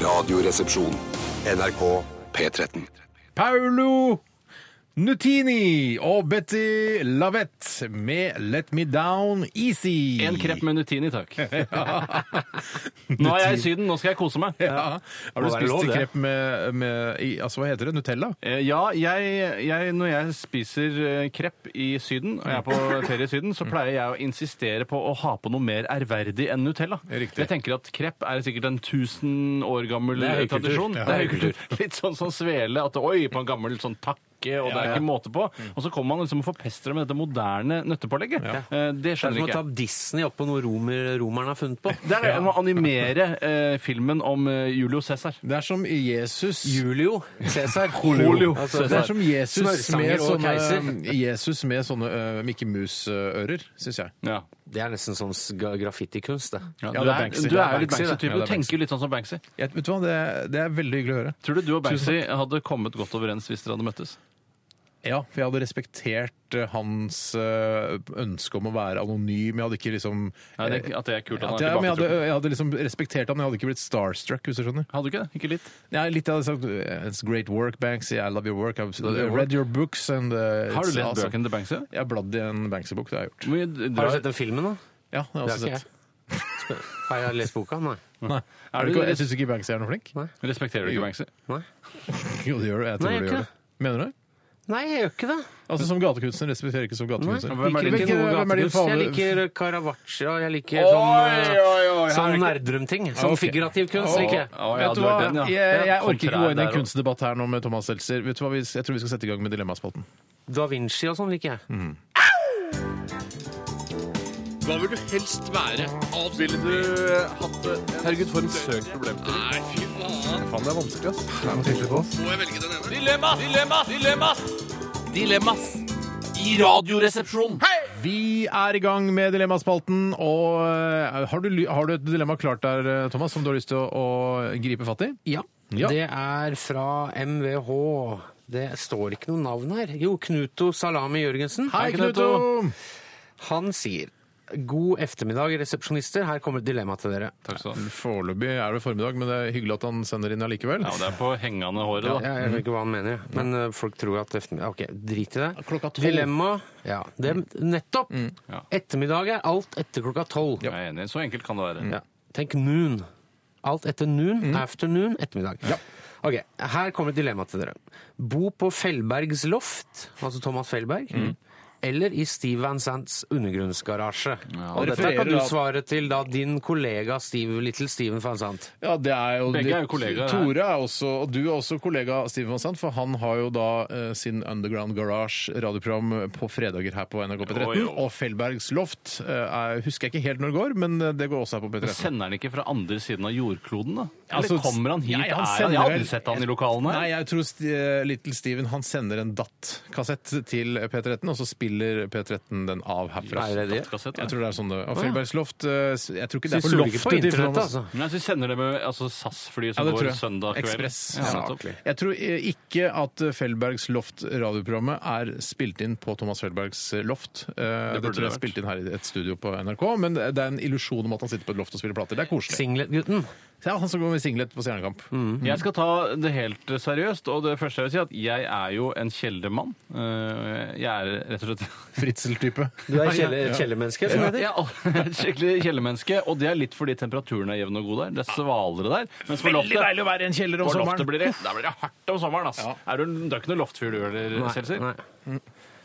G: Radioresepsjon. NRK P13.
C: Paulo Nutini og Betty Lavette med Let Me Down Easy.
E: En krepp med Nutini, takk. Nå er jeg i Syden, nå skal jeg kose meg.
C: Ja. Har du
E: Må være
C: spist
E: lov, det.
C: krepp med, med i, Altså, hva heter det? Nutella?
E: Eh, Ja, jeg, jeg, når jeg spiser eh, krepp i Syden, og jeg er på ferie i Syden, så pleier jeg å insistere på å ha på noe mer ærverdig enn Nutella.
C: Riktig.
E: Jeg tenker at krepp er sikkert en tusen år gammel
C: Det er høykultur.
E: tradisjon.
C: Ja.
E: Det er høykultur. Litt sånn som svele, at oi, på en gammel sånn takke, og det er
C: Ja, Mm. ja.
E: ikke måte på. Og så kommer man liksom og forpester det med dette moderne nøttepålegget. Eh, Det
D: Det er
E: skjønner
D: som å
E: ikke
D: ta
E: jeg.
D: Disney oppå noe romer, romerne har funnet på.
E: Det er det å animere eh, filmen om eh, Julius Cæsar.
C: Det er som Jesus
D: Julio Cæsar.
C: Julio.
D: Altså,
C: det er som Jesus
D: Smørsanger
C: med
D: og
C: sånne,
D: keiser.
C: Jesus med sånne øh, Mickey Mouse-ører, syns jeg.
E: Ja.
D: Det er nesten sånn s- gra- graffitikunst, det.
E: Ja,
C: Ja,
E: du,
C: det er
E: er,
C: Banksy.
E: du
C: Ja,
E: er jo litt
C: Banksy, det.
E: Banksy-type.
C: Ja, det
E: du
C: er Banksy.
E: tenker jo litt sånn som Banksy.
C: Jeg, vet du hva, det, det er veldig hyggelig å høre.
E: Tror du du og Banksy hadde kommet godt overens hvis dere hadde møttes?
C: Ja, for jeg hadde respektert eh, hans eh, ønske om å være anonym. Jeg hadde ikke liksom
E: Nei, det, at det er kult at
C: At jeg, men
E: han er
C: jeg, hadde,
E: tilbaketrukken.
C: jeg hadde liksom respektert han, jeg hadde ikke blitt starstruck, hvis du skjønner.
E: Hadde du ikke det? Ikke litt?
C: Ja, litt jeg hadde sagt It's great work, Banksy. I love your work. I've
E: Love your
C: read your books and uh,
E: Har
C: it's
E: du lest
C: awesome."
E: bøkene til Banksy?
C: Jeg har bladd i en Banksy-bok, det har jeg gjort.
E: Hvor mye drar-
D: Har du sett den filmen, da?
C: Ja, det har jeg også
D: Det er ikke
C: sett.
D: jeg. Har jeg lest boka? Nei.
C: Nei.
E: Er
C: Er
E: du-
C: du, ikke- jeg syns ikke Banksy er noe flink.
D: Nei.
E: Respekterer du ikke Banksy?
D: Nei,
C: Jo, det gjør du. Jeg tror
D: Nei,
C: du
D: jeg
C: gjør
D: ikke.
C: det. Mener du?
D: Nei jeg gjør ikke det.
C: Altså Som gatekunstner respekterer jeg ikke som gatekunstner.
E: Nei. Hvem er din-
C: Hvilke-
D: Ikke noe
C: hvem er din
D: gatekunst. Jeg
C: favoritt?
D: liker Caravaggio, jeg liker
C: Oi,
D: sånn,
C: oi, oi,
D: eh,
C: her er
D: sånn
C: ikke-
D: nerdrømting. Sånn
C: Ok.
D: figurativ kunst. liker jeg.
E: Å, ja,
C: Vet du
E: du er
C: hva?
E: den, ja.
C: Jeg,
E: Ja,
C: jeg orker ikke
E: kontrær
C: gå inn i en
E: der også.
C: kunstdebatt her nå med Thomas Seltzer. Vet du hva? vi- Jeg tror vi skal sette i gang med Dilemmaspalten.
D: Da Vinci og sånn liker
C: Mm.
D: jeg.
E: Hva vil du helst være? Ville du hatt det? Herregud, for en søk problem til. Nei, fy faen. Faen, det er vanskelig, ass. Det er noe tydelig på. Må jeg velge den ene? Dilemmas! Dilemmas! Dilemmas! Dilemmas! I radioresepsjonen.
C: Vi er i gang med Dilemmaspalten, og eh, har du, ly- har du et dilemma klart der, eh, Thomas, som du har lyst til å, å gripe fatt i?
D: Ja.
C: Ja.
D: Det er fra MVH. Det står ikke noe navn her. Jo, Knuto Salami Jørgensen.
C: Hei,
D: Er ikke det
C: Knuto!
D: Han sier God ettermiddag, resepsjonister. Her kommer et dilemma til dere.
E: Takk skal du ha.
C: Foreløpig er det formiddag, men det er hyggelig at han sender inn allikevel.
E: Ja, det er på hengende håret,
D: Ja,
E: da.
D: jeg
C: Mhm.
D: vet ikke hva han mener, men eh, folk tror at ettermiddag Ok, drit i det.
C: Klokka tolv. Mm.
D: Dilemma ja, det, Nettopp!
E: Ja.
D: Ettermiddag er alt etter klokka tolv.
E: Jeg er enig. Så enkelt kan det være.
D: Ja. Tenk noon. Alt etter noon,
C: Mm.
D: afternoon, ettermiddag. Ok, Her kommer et dilemma til dere. Bo på Fellbergs loft, altså Thomas Fellberg,
C: Mm.
D: eller i Steve Van Sants undergrunnsgarasje. Og dette
C: refererer
D: kan du
C: da-
D: svare til da din kollega Steve, Little Steven Van Sant.
C: Ja, det er jo,
E: Begge er jo kollegaer her.
C: Tore er også, og du er også kollega av Steven Van Sant, for han har jo da eh, sin Underground Garage radioprogram på fredager her på NRK P13.
E: Jo, jo.
C: Og Fellbergs Loft eh, er, husker jeg ikke helt når det går, men eh, det går også her på P13.
E: Sender han ikke fra andre siden av jordkloden, da? Eller
C: Altså,
E: kommer han hit?
C: nei, han
E: Er han-
C: sender
E: jeg har
C: vel-
E: aldri sett han i lokalene.
C: Nei, jeg tror St eh, Little Steven han sender en DAT-kassett til P13, og så spiller P13 den av herfra.
D: Er det det?
E: Kassett,
C: Jeg
E: da.
C: tror det er sånn det Og Fellbergs Loft eh, s- Jeg tror ikke det
D: Så vi
C: er på
D: stoler ikke
C: loftet.
D: på
C: til
D: internett,
C: Thomas.
D: altså.
E: Nei, så sender det med altså, SAS-flyet
C: Ja,
E: som
C: det tror
E: går
C: jeg.
E: søndag kveld.
C: Ekspress.
E: Ja,
C: Ja,
E: nettopp.
C: Jeg tror eh, ikke at eh, Fellbergs Loft radioprogrammet er spilt inn på Thomas Fellbergs eh, loft. Eh, Det, tror jeg
E: burde det
C: er
E: vært.
C: spilt inn her i et studio på NRK, men det er en illusjon om at han sitter på et loft og spiller plater. Det er koselig.
D: Singlet-gutten.
C: Ja, han som går med singlet på Stjernekamp.
D: Mm.
E: Jeg skal ta det helt seriøst, og det første jeg vil si er at jeg er jo en kjeldermann. Eh, Jeg er rett og slett
C: Fritzel-type.
D: Du er kjelle- kjellermenneske, som det heter.
E: Jeg er et skikkelig kjellermenneske, og det er litt fordi temperaturen er jevn og god der. Det er svalere der. Mens på
C: Veldig
E: loftet,
C: deilig å være i en kjeller om
E: på loftet
C: sommeren.
E: blir det, der blir det hardt om sommeren, ass.
C: Ja.
E: Er du, det er ikke noe loftfyr du gjør, Seltzer?
D: Nei.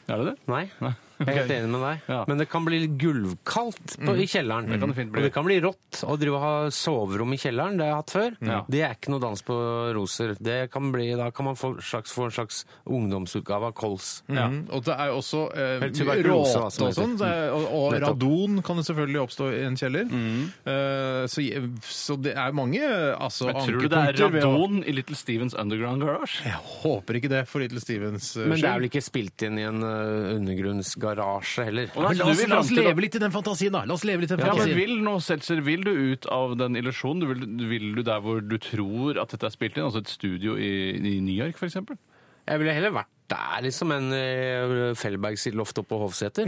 E: Er det det?
D: Nei.
E: Nei.
D: Jeg er helt enig med deg.
E: Ja. Mm.
D: Men det kan bli litt gulvkaldt på, i kjelleren.
E: Det kan det fint bli.
D: Og det kan bli rått å drive og ha soverom i kjelleren, det har jeg hatt før.
E: Ja.
D: Det er ikke noe dans på roser. Det kan bli, da kan man få, slags, få en slags ungdomsutgave av kols.
C: Mm. Og det er jo også eh,
D: Eller
C: mye
D: tuberkulose, hva
C: råte og
D: som heter.
C: sånn. Det er- Og, og
D: Nettopp.
C: radon kan jo selvfølgelig oppstå i en kjeller.
E: Mm.
C: Eh, så, je- så det er mange eh, altså,
E: Men tror du det er
C: ankepunkter ved å-
E: radon i Little Stevens Underground Garage?
C: Jeg håper ikke det for Little Stevens eh,
D: Men det
C: skyld.
D: er vel ikke spilt inn i en eh, undergrunnsgarasje heller.
E: Og da
C: Men la
E: snur
C: oss,
E: vi
C: la oss
E: frem til at-
C: leve litt i den fantasien, da. La oss leve litt i den
E: Ja, men
C: fantasien.
E: vil nå, Seltzer, vil du ut av den illusjonen? Du Vil, vil du der hvor du tror at dette er spilt inn, altså et studio i, i New York f.eks.?
D: Jeg ville heller vært der, liksom, enn eh, Fellberg sitt loft oppe på Hovseter.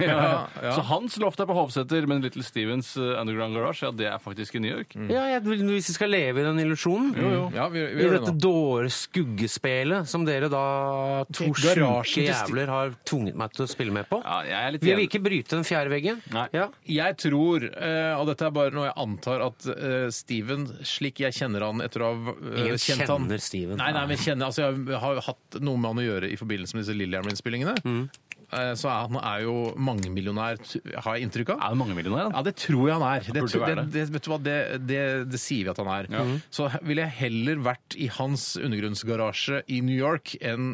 E: Ja, Så hans loft er på Hovseter, men Little Stevens eh, Underground Garage, ja, det er faktisk i New York.
D: Ja, jeg, vil- hvis vi skal leve i den illusjonen
C: Ja, vi, vi
D: I
C: gjør det
D: dette
C: nå.
D: dåre skuggespelet som dere da to
C: Garasjen
D: sjuke
C: til
D: jævler har tvunget meg til å spille med på.
E: Ja, jeg er litt
D: Vi vil
E: enig.
D: ikke bryte den fjerde veggen.
E: Nei.
D: Ja.
C: Jeg tror, eh, og dette er bare noe jeg antar, at eh, Steven, slik jeg kjenner han etter å ha eh,
D: Ingen
C: kjent han
D: kjenner Steven.
C: Nei, nei, men kjenner, altså, jeg har jo hatt noe med han å gjøre i forbindelse med disse Lillehammer-innspillingene.
D: Mm.
C: Eh, Så er, han er jo mangemillionær, t- har jeg inntrykk av.
E: Er det mange millionærer?
C: Ja,
E: da?
C: det tror jeg han er. Det,
E: burde
C: tro-
E: være
C: det, det, vet du hva, det, det, det sier vi at han er.
D: Mm.
C: Så he- ville jeg heller vært i hans undergrunnsgarasje i New York enn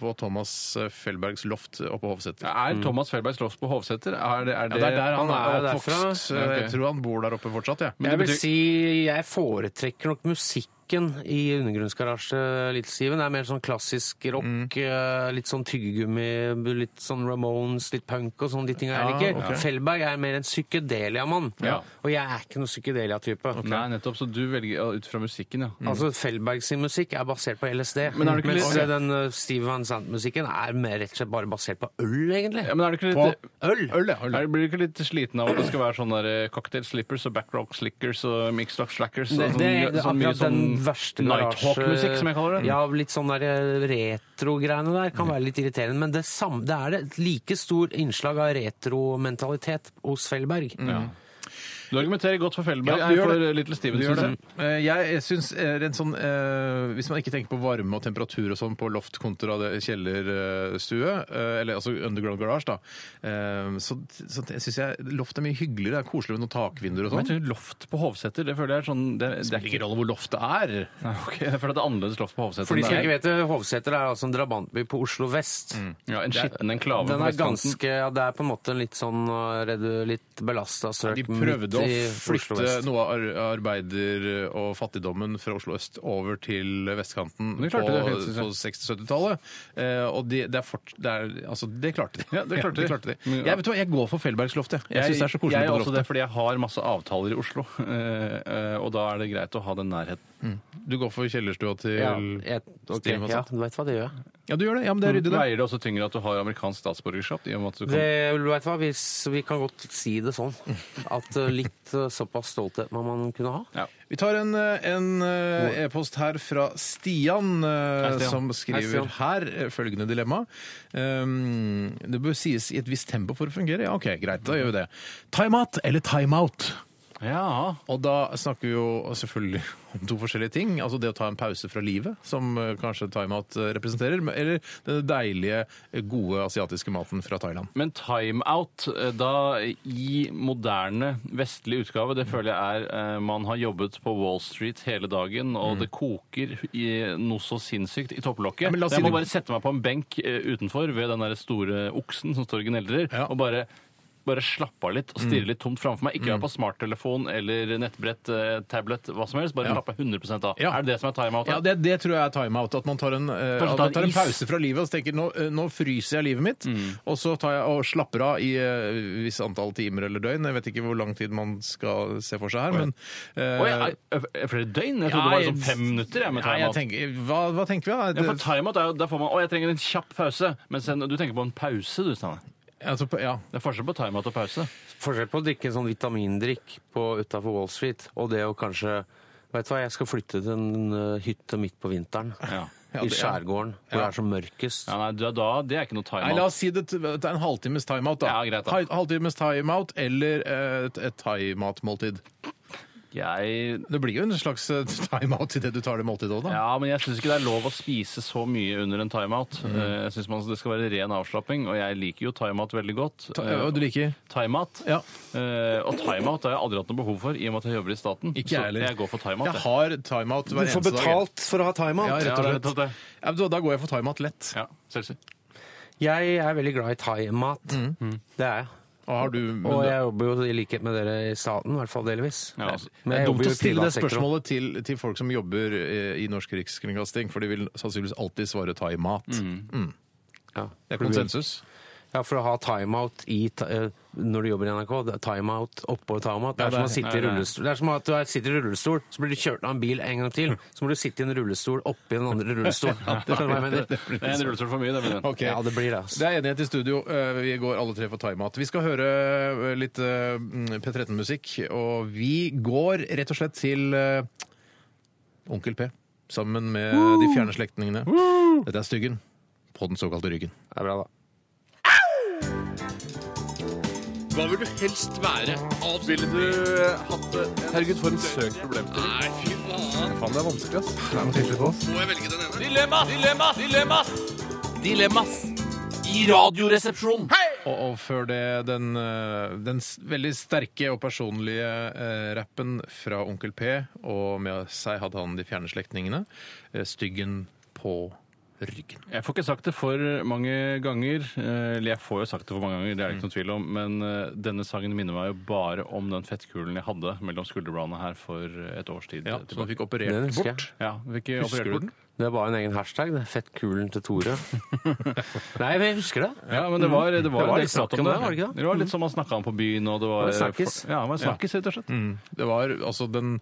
C: på Thomas Fellbergs loft oppe på Hovseter.
E: Er Thomas Felberg Slåss på Hovseter? Er det,
C: Ja,
E: er det,
C: det er der han, er
D: er
C: oppvokst.
D: derfra.
C: så
E: Ja, ok.
C: Jeg tror han bor der oppe fortsatt, jeg.
E: Men
D: Jeg
E: det
D: vil
E: betyr-
D: si jeg foretrekker nok musikk rocken i undergrunnsgarasje, Little Steven, er mer sånn klassisk rock.
C: Mm.
D: eh, Litt sånn tyggegummi, litt sånn Ramones, litt punk og sånn, de tinga jeg
C: Ja,
D: liker.
C: ok.
D: Fellberg er mer en psykedelia-mann,
E: Ja.
D: og jeg er ikke noen psykedelia-type.
E: Nei, nettopp. Så du velger ja, ut fra musikken, ja.
D: Altså, Fellberg sin musikk er basert på LSD,
E: Mm. Men er det ikke
D: mens
E: litt-
D: den eh, Steve Van Sant-musikken er mer rett og slett bare basert på øl, egentlig.
E: ja men er det ikke
C: På
E: litt
D: Øl!
C: øl, ja. Øl.
E: Er, blir du ikke litt sliten av at det skal være sånn der eh, cocktail slippers og backrock slickers og mixed up slackers?
D: Det,
E: og
D: det,
E: sånn-
D: det,
E: sånn mye
D: akkurat den verste
E: Nighthawk-musikk, som jeg kaller det.
D: Ja, litt sånn der eh, retro-greiene der kan være litt irriterende, men det, samme, det er det et like stor innslag av retromentalitet hos Fellberg.
E: Mm. Du argumenterer godt for Fellberg,
C: Ja,
E: jeg
C: du gjør
E: for
C: det.
E: Little Steven.
C: Du gjør det.
E: synes jeg.
C: Eh, Jeg syns rent sånn eh, Hvis man ikke tenker på varme og temperatur og sånn på loft kontra det- kjellerstue, eh, eller altså underground garage, da, eh, så, så syns jeg loft er mye hyggeligere. Det er koselig med noen takvinduer og
E: Men jeg
C: sånn.
E: tror loft på Hovseter, det føler jeg er sånn Det, det er ikke
C: rolle hvor loftet er.
E: Nei, ok, Jeg føler at det er annerledes loft på Hovseter.
D: For de
E: enn
D: som
E: det
D: ikke
E: er.
D: vet det, Hovseter er altså en drabantby på Oslo vest.
E: Ja, en skitten enklave
D: Den
E: på
D: er
E: vestkanten.
D: ganske, ja, Det er på en måte en litt sånn eh, redu- litt belasta strøk.
C: De prøvde
D: midt i
C: å
D: Oslo
C: flytte
D: vest.
C: noe av ar- arbeider- og fattigdommen fra Oslo øst over til vestkanten
E: Men de
C: på,
E: klarte det, helt sikkert.
C: på 60-70-tallet. Eh, og de, det, er fort, det, er, altså, det klarte de.
E: Ja, det klarte de. Men, ja.
C: Jeg, vet du hva, jeg går for Fellbergsloftet. Jeg, jeg syns det er så koselig. på
E: jeg, er
C: det
E: også
C: loftet.
E: det, fordi jeg har masse avtaler i Oslo, eh, eh, og da er det greit å ha den nærheten.
C: Du går for kjellerstua til
D: ja,
C: ja,
D: jeg, ok,
C: Steven og
D: ja,
C: sånt.
D: du vet hva det gjør.
C: du gjør det. Ja, men det er ryddig, det.
E: Veier det også tyngre at du har amerikansk statsborgerskap? i og med at du
D: Det,
E: kan...
D: du vet hva, vi, s- vi kan godt si det sånn. At eh, litt eh, såpass stolthet må man kunne ha.
E: Ja.
C: Vi tar en eh, en, eh, e-post her fra Stian, eh,
E: Hei, Stian.
C: som
D: Hei,
C: skriver
D: Stian.
C: her eh, følgende dilemma. Um, det bør sies i et visst tempo for å fungere. Ja, OK, greit, da gjør vi det. Timeout eller timeout?
E: ja.
C: Og da snakker vi jo selvfølgelig om to forskjellige ting. Altså det å ta en pause fra livet, som eh, kanskje timeout eh, representerer, men- eller den deilige, eh, gode asiatiske maten fra Thailand.
E: Men timeout eh, da i moderne vestlig utgave, det føler jeg er eh, Man har jobbet på Wall Street hele dagen, og det koker i noe så sinnssykt i topplokket.
C: Mm. Ja, men la oss
E: jeg
C: si
E: må
C: det-
E: bare sette meg på en benk eh, utenfor ved den der store oksen som står og gneldrer,
C: Ja. Mm.
E: og bare bare slappe av litt og stirre litt tomt framfor meg. Ikke være på smarttelefon eller nettbrett, eh, tablet, hva som helst. Bare
C: Ja.
E: slappe 100 av.
C: Ja.
E: Er det det som er timeout?
C: Ja,
E: da?
C: det, det tror jeg er timeout. At man tar en, eh,
E: Kanskje
C: at
E: ta
C: man tar en
E: is. Mm.
C: pause fra livet og så tenker nå, eh, nå fryser jeg livet mitt, og så tar jeg og slapper av i eh, visst antall timer eller døgn. Jeg vet ikke hvor lang tid man skal se for seg her, men eh,
E: Oi, er- er- er flere døgn? Jeg trodde det var sånn fem minutter jeg, med
C: Nei, jeg
E: timeout.
C: tenker, hva, hva tenker vi da?
E: Ja, for timeout er jo, der får man, å, jeg trenger en kjapp pause. Mens en, du tenker på en pause, du, Steinar.
C: altså, på- ja.
E: Det er forskjell på timeout og pause.
D: Forskjell på å drikke en sånn vitamindrikk utafor Wall Street, og det å kanskje Vet du hva, jeg skal flytte til en eh, hytte midt på vinteren.
E: Ja.
D: I skjærgården, hvor det er som mørkest.
E: nei, da, da, det er ikke noe
C: Nei, la
E: timeout.
C: oss si det, det er en halvtimes timeout, da.
E: Ja, greit da.
C: Hal- Halvtimes timeout eller eh, et, et thaimatmåltid.
E: Jeg,
C: Det blir jo en slags eh, timeout i det du tar det måltidet òg, da.
E: ja, men jeg syns ikke det er lov å spise så mye under en timeout.
C: Mm.
E: Eh, Jeg syns det skal være ren avslapping, og jeg liker jo timeout veldig godt. Eh,
C: Ta- Eh, og du liker?
E: Timeout.
C: Ja.
E: Eh, og timeout har jeg aldri hatt noe behov for, i og med at jeg jobber i staten.
C: Ikke jeg
E: så
C: heller.
E: jeg går for timeout.
C: Jeg
E: jeg.
C: har timeout hver eneste dag.
D: for å ha timeout.
C: Ja, rett
E: Ja,
C: og
E: det er
C: slett.
E: nettopp det.
C: Ja, men da- da går jeg for timeout lett.
E: Ja, Seltzer.
D: Jeg er veldig glad i thaimat. Det er jeg.
C: Og har du, Mm. men,
D: Og
C: det
D: jeg jobber jo i likhet med dere i staten, i hvert fall delvis.
E: Ja, altså,
D: Men
C: er
D: jeg
C: dumt
D: jobber
C: å
D: jo i
C: stille det
D: privat sektor også.
C: spørsmålet til, til folk som jobber eh, i Norsk Rikskringkasting, for de vil sannsynligvis alltid svare thaimat.
D: Ja.
C: Det er konsensus.
D: ja, for å ha timeout i, ta- eh, når du jobber i NRK, det er timeout oppå timeout. Det
C: Ja,
D: er, som
C: det
D: å
C: er-
D: sitte i
E: ja, det er-
D: rullestol. Det er som at du er, sitter i rullestol, så blir du kjørt av en bil en gang til. Så må du sitte i en rullestol oppi den andre rullestolen. Skjønner du hva jeg mener?
E: Det er en rullestol for mye, det. mener jeg.
C: Ok.
D: Ja, det blir det. altså.
C: Det er enighet i studio. Eh, Vi går alle tre for timeout. Vi skal høre eh, litt eh, P13-musikk, og vi går rett og slett til eh, Onkel P sammen med de fjerne slektningene. Dette er Styggen på den såkalte Ryggen.
D: Det er bra, da.
C: Og, og før det den, eh, den s- veldig sterke og personlige eh, rappen fra Onkel P, og med seg hadde han de fjerne slektningene. Eh, Styggen på ryggen.
E: Jeg får ikke sagt det for mange ganger. eh, Eller jeg får jo sagt det for mange ganger, det er det ikke noen tvil om. Men eh, denne sangen minner meg jo bare om den fettkulen jeg hadde mellom skulderbladene her for et års tid.
C: Ja, så
E: tilbake.
C: man fikk
D: Den
C: operert
D: husker
C: bort.
D: jeg.
E: ja, vi fikk operert
C: Husker du
E: bort
C: den?
D: Det var en egen hashtag. det. Fettkulen til Tore. Nei, men jeg husker det.
E: Ja, men det var,
D: Det
E: det var,
D: var
E: en del
D: litt
E: prat
D: snakk
E: om
D: om
E: det.
D: det, var det ikke det?
E: var litt som man snakka om på byen, og det var
D: Det var snakkis.
E: Ja, det var en snakkis, rett og slett.
C: Det var, altså, den,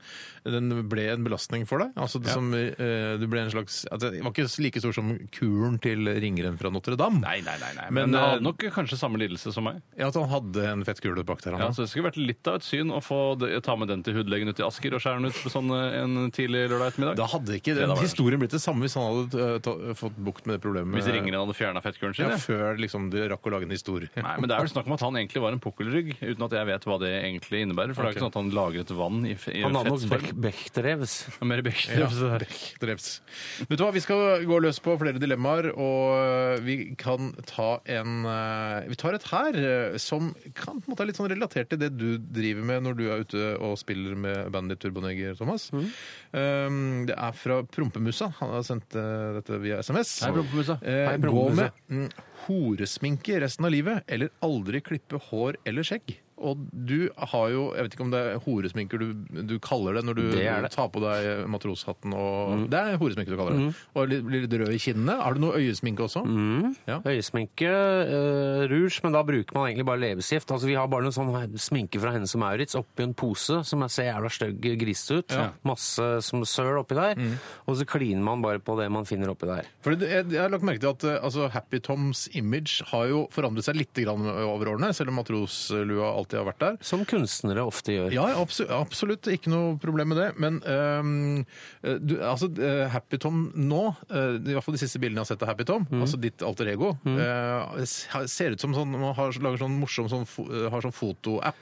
C: den ble en belastning for deg. Altså, det, som, eh, det ble en slags at Det var ikke like stor som kuren til ringeren fra Notre-Dame.
E: Nei, nei, nei, nei.
C: Men,
E: Men, han
C: eh,
E: hadde nok kanskje samme lidelse som meg.
C: Ja, At han hadde en fettkule bak der.
E: Ja,
C: Han.
E: så Det skulle vært litt av et syn å få det, ta med den til hudlegen ut i Asker og skjære den ut på sånn eh, en tidlig lørdag ettermiddag.
C: Da hadde ikke
E: Ja, da
C: den
E: var det.
C: historien blitt det samme hvis han hadde eh, ta, fått bukt med det problemet.
E: Hvis ringeren hadde fjerna fettkulen sin.
C: ja,
E: ja.
C: Før liksom, du rakk å lage en historie.
E: Nei, men Det er vel snakk om at han egentlig var en pukkelrygg, uten at jeg vet hva det egentlig innebærer. For det er jo ikke sånn at han lagret vann i, f- i
D: Han hadde nok
E: fettform.
D: Bech- Bechdrevs.
E: Ja, Mer Beck.
C: Ja, Beck dreps. Vet du hva, Vi skal gå løs på flere dilemmaer, og vi kan ta en eh, Vi tar et her eh, som kan på en måte er litt sånn relatert til det du driver med når du er ute og spiller med bandet ditt Turboneger, Thomas.
E: Mm.
C: Um, det er fra Prompemusa. Han har sendt eh, dette via SMS.
E: Hei, Prompemusa.
C: Eh,
D: Hei,
C: gå
D: Prompemusa.
C: med mm, horesminke resten av livet, eller aldri klippe hår eller skjegg. Og du har jo Jeg vet ikke om det er horesminker du, du kaller det når du
D: Det er det. Mm.
C: tar på deg matroshatten og Det er horesminke du kaller det. Og litt- blir litt rød i kinnene. Har du noe øyesminke også?
D: Mm. Øyesminke, eh, rouge, men da bruker man egentlig bare leppestift. Altså, vi har bare noen sånn her sminke fra Hennes og Maurits oppi en pose som er- ser jævla stygg grisete ut. Masse som søl oppi der.
C: Mm.
D: Og så kliner man bare på det man finner oppi der.
C: Fordi det- jeg, jeg har lagt merke til at eh, altså, Happy Toms image har jo forandret seg litt grann over årene, selv om matroslua alltid har vært der.
D: Som kunstnere ofte gjør.
C: Ja, absolutt, absolutt. Ikke noe problem med det. Men øhm, øh, du, altså, øh, Happy Tom nå, øh, i hvert fall de siste bildene jeg har sett av Happy
E: Mm.
C: Tom, altså ditt alter ego, øh, det ser ut som sånn, man har, lager sånn morsom sånn, fo- øh, har sånn fotoapp.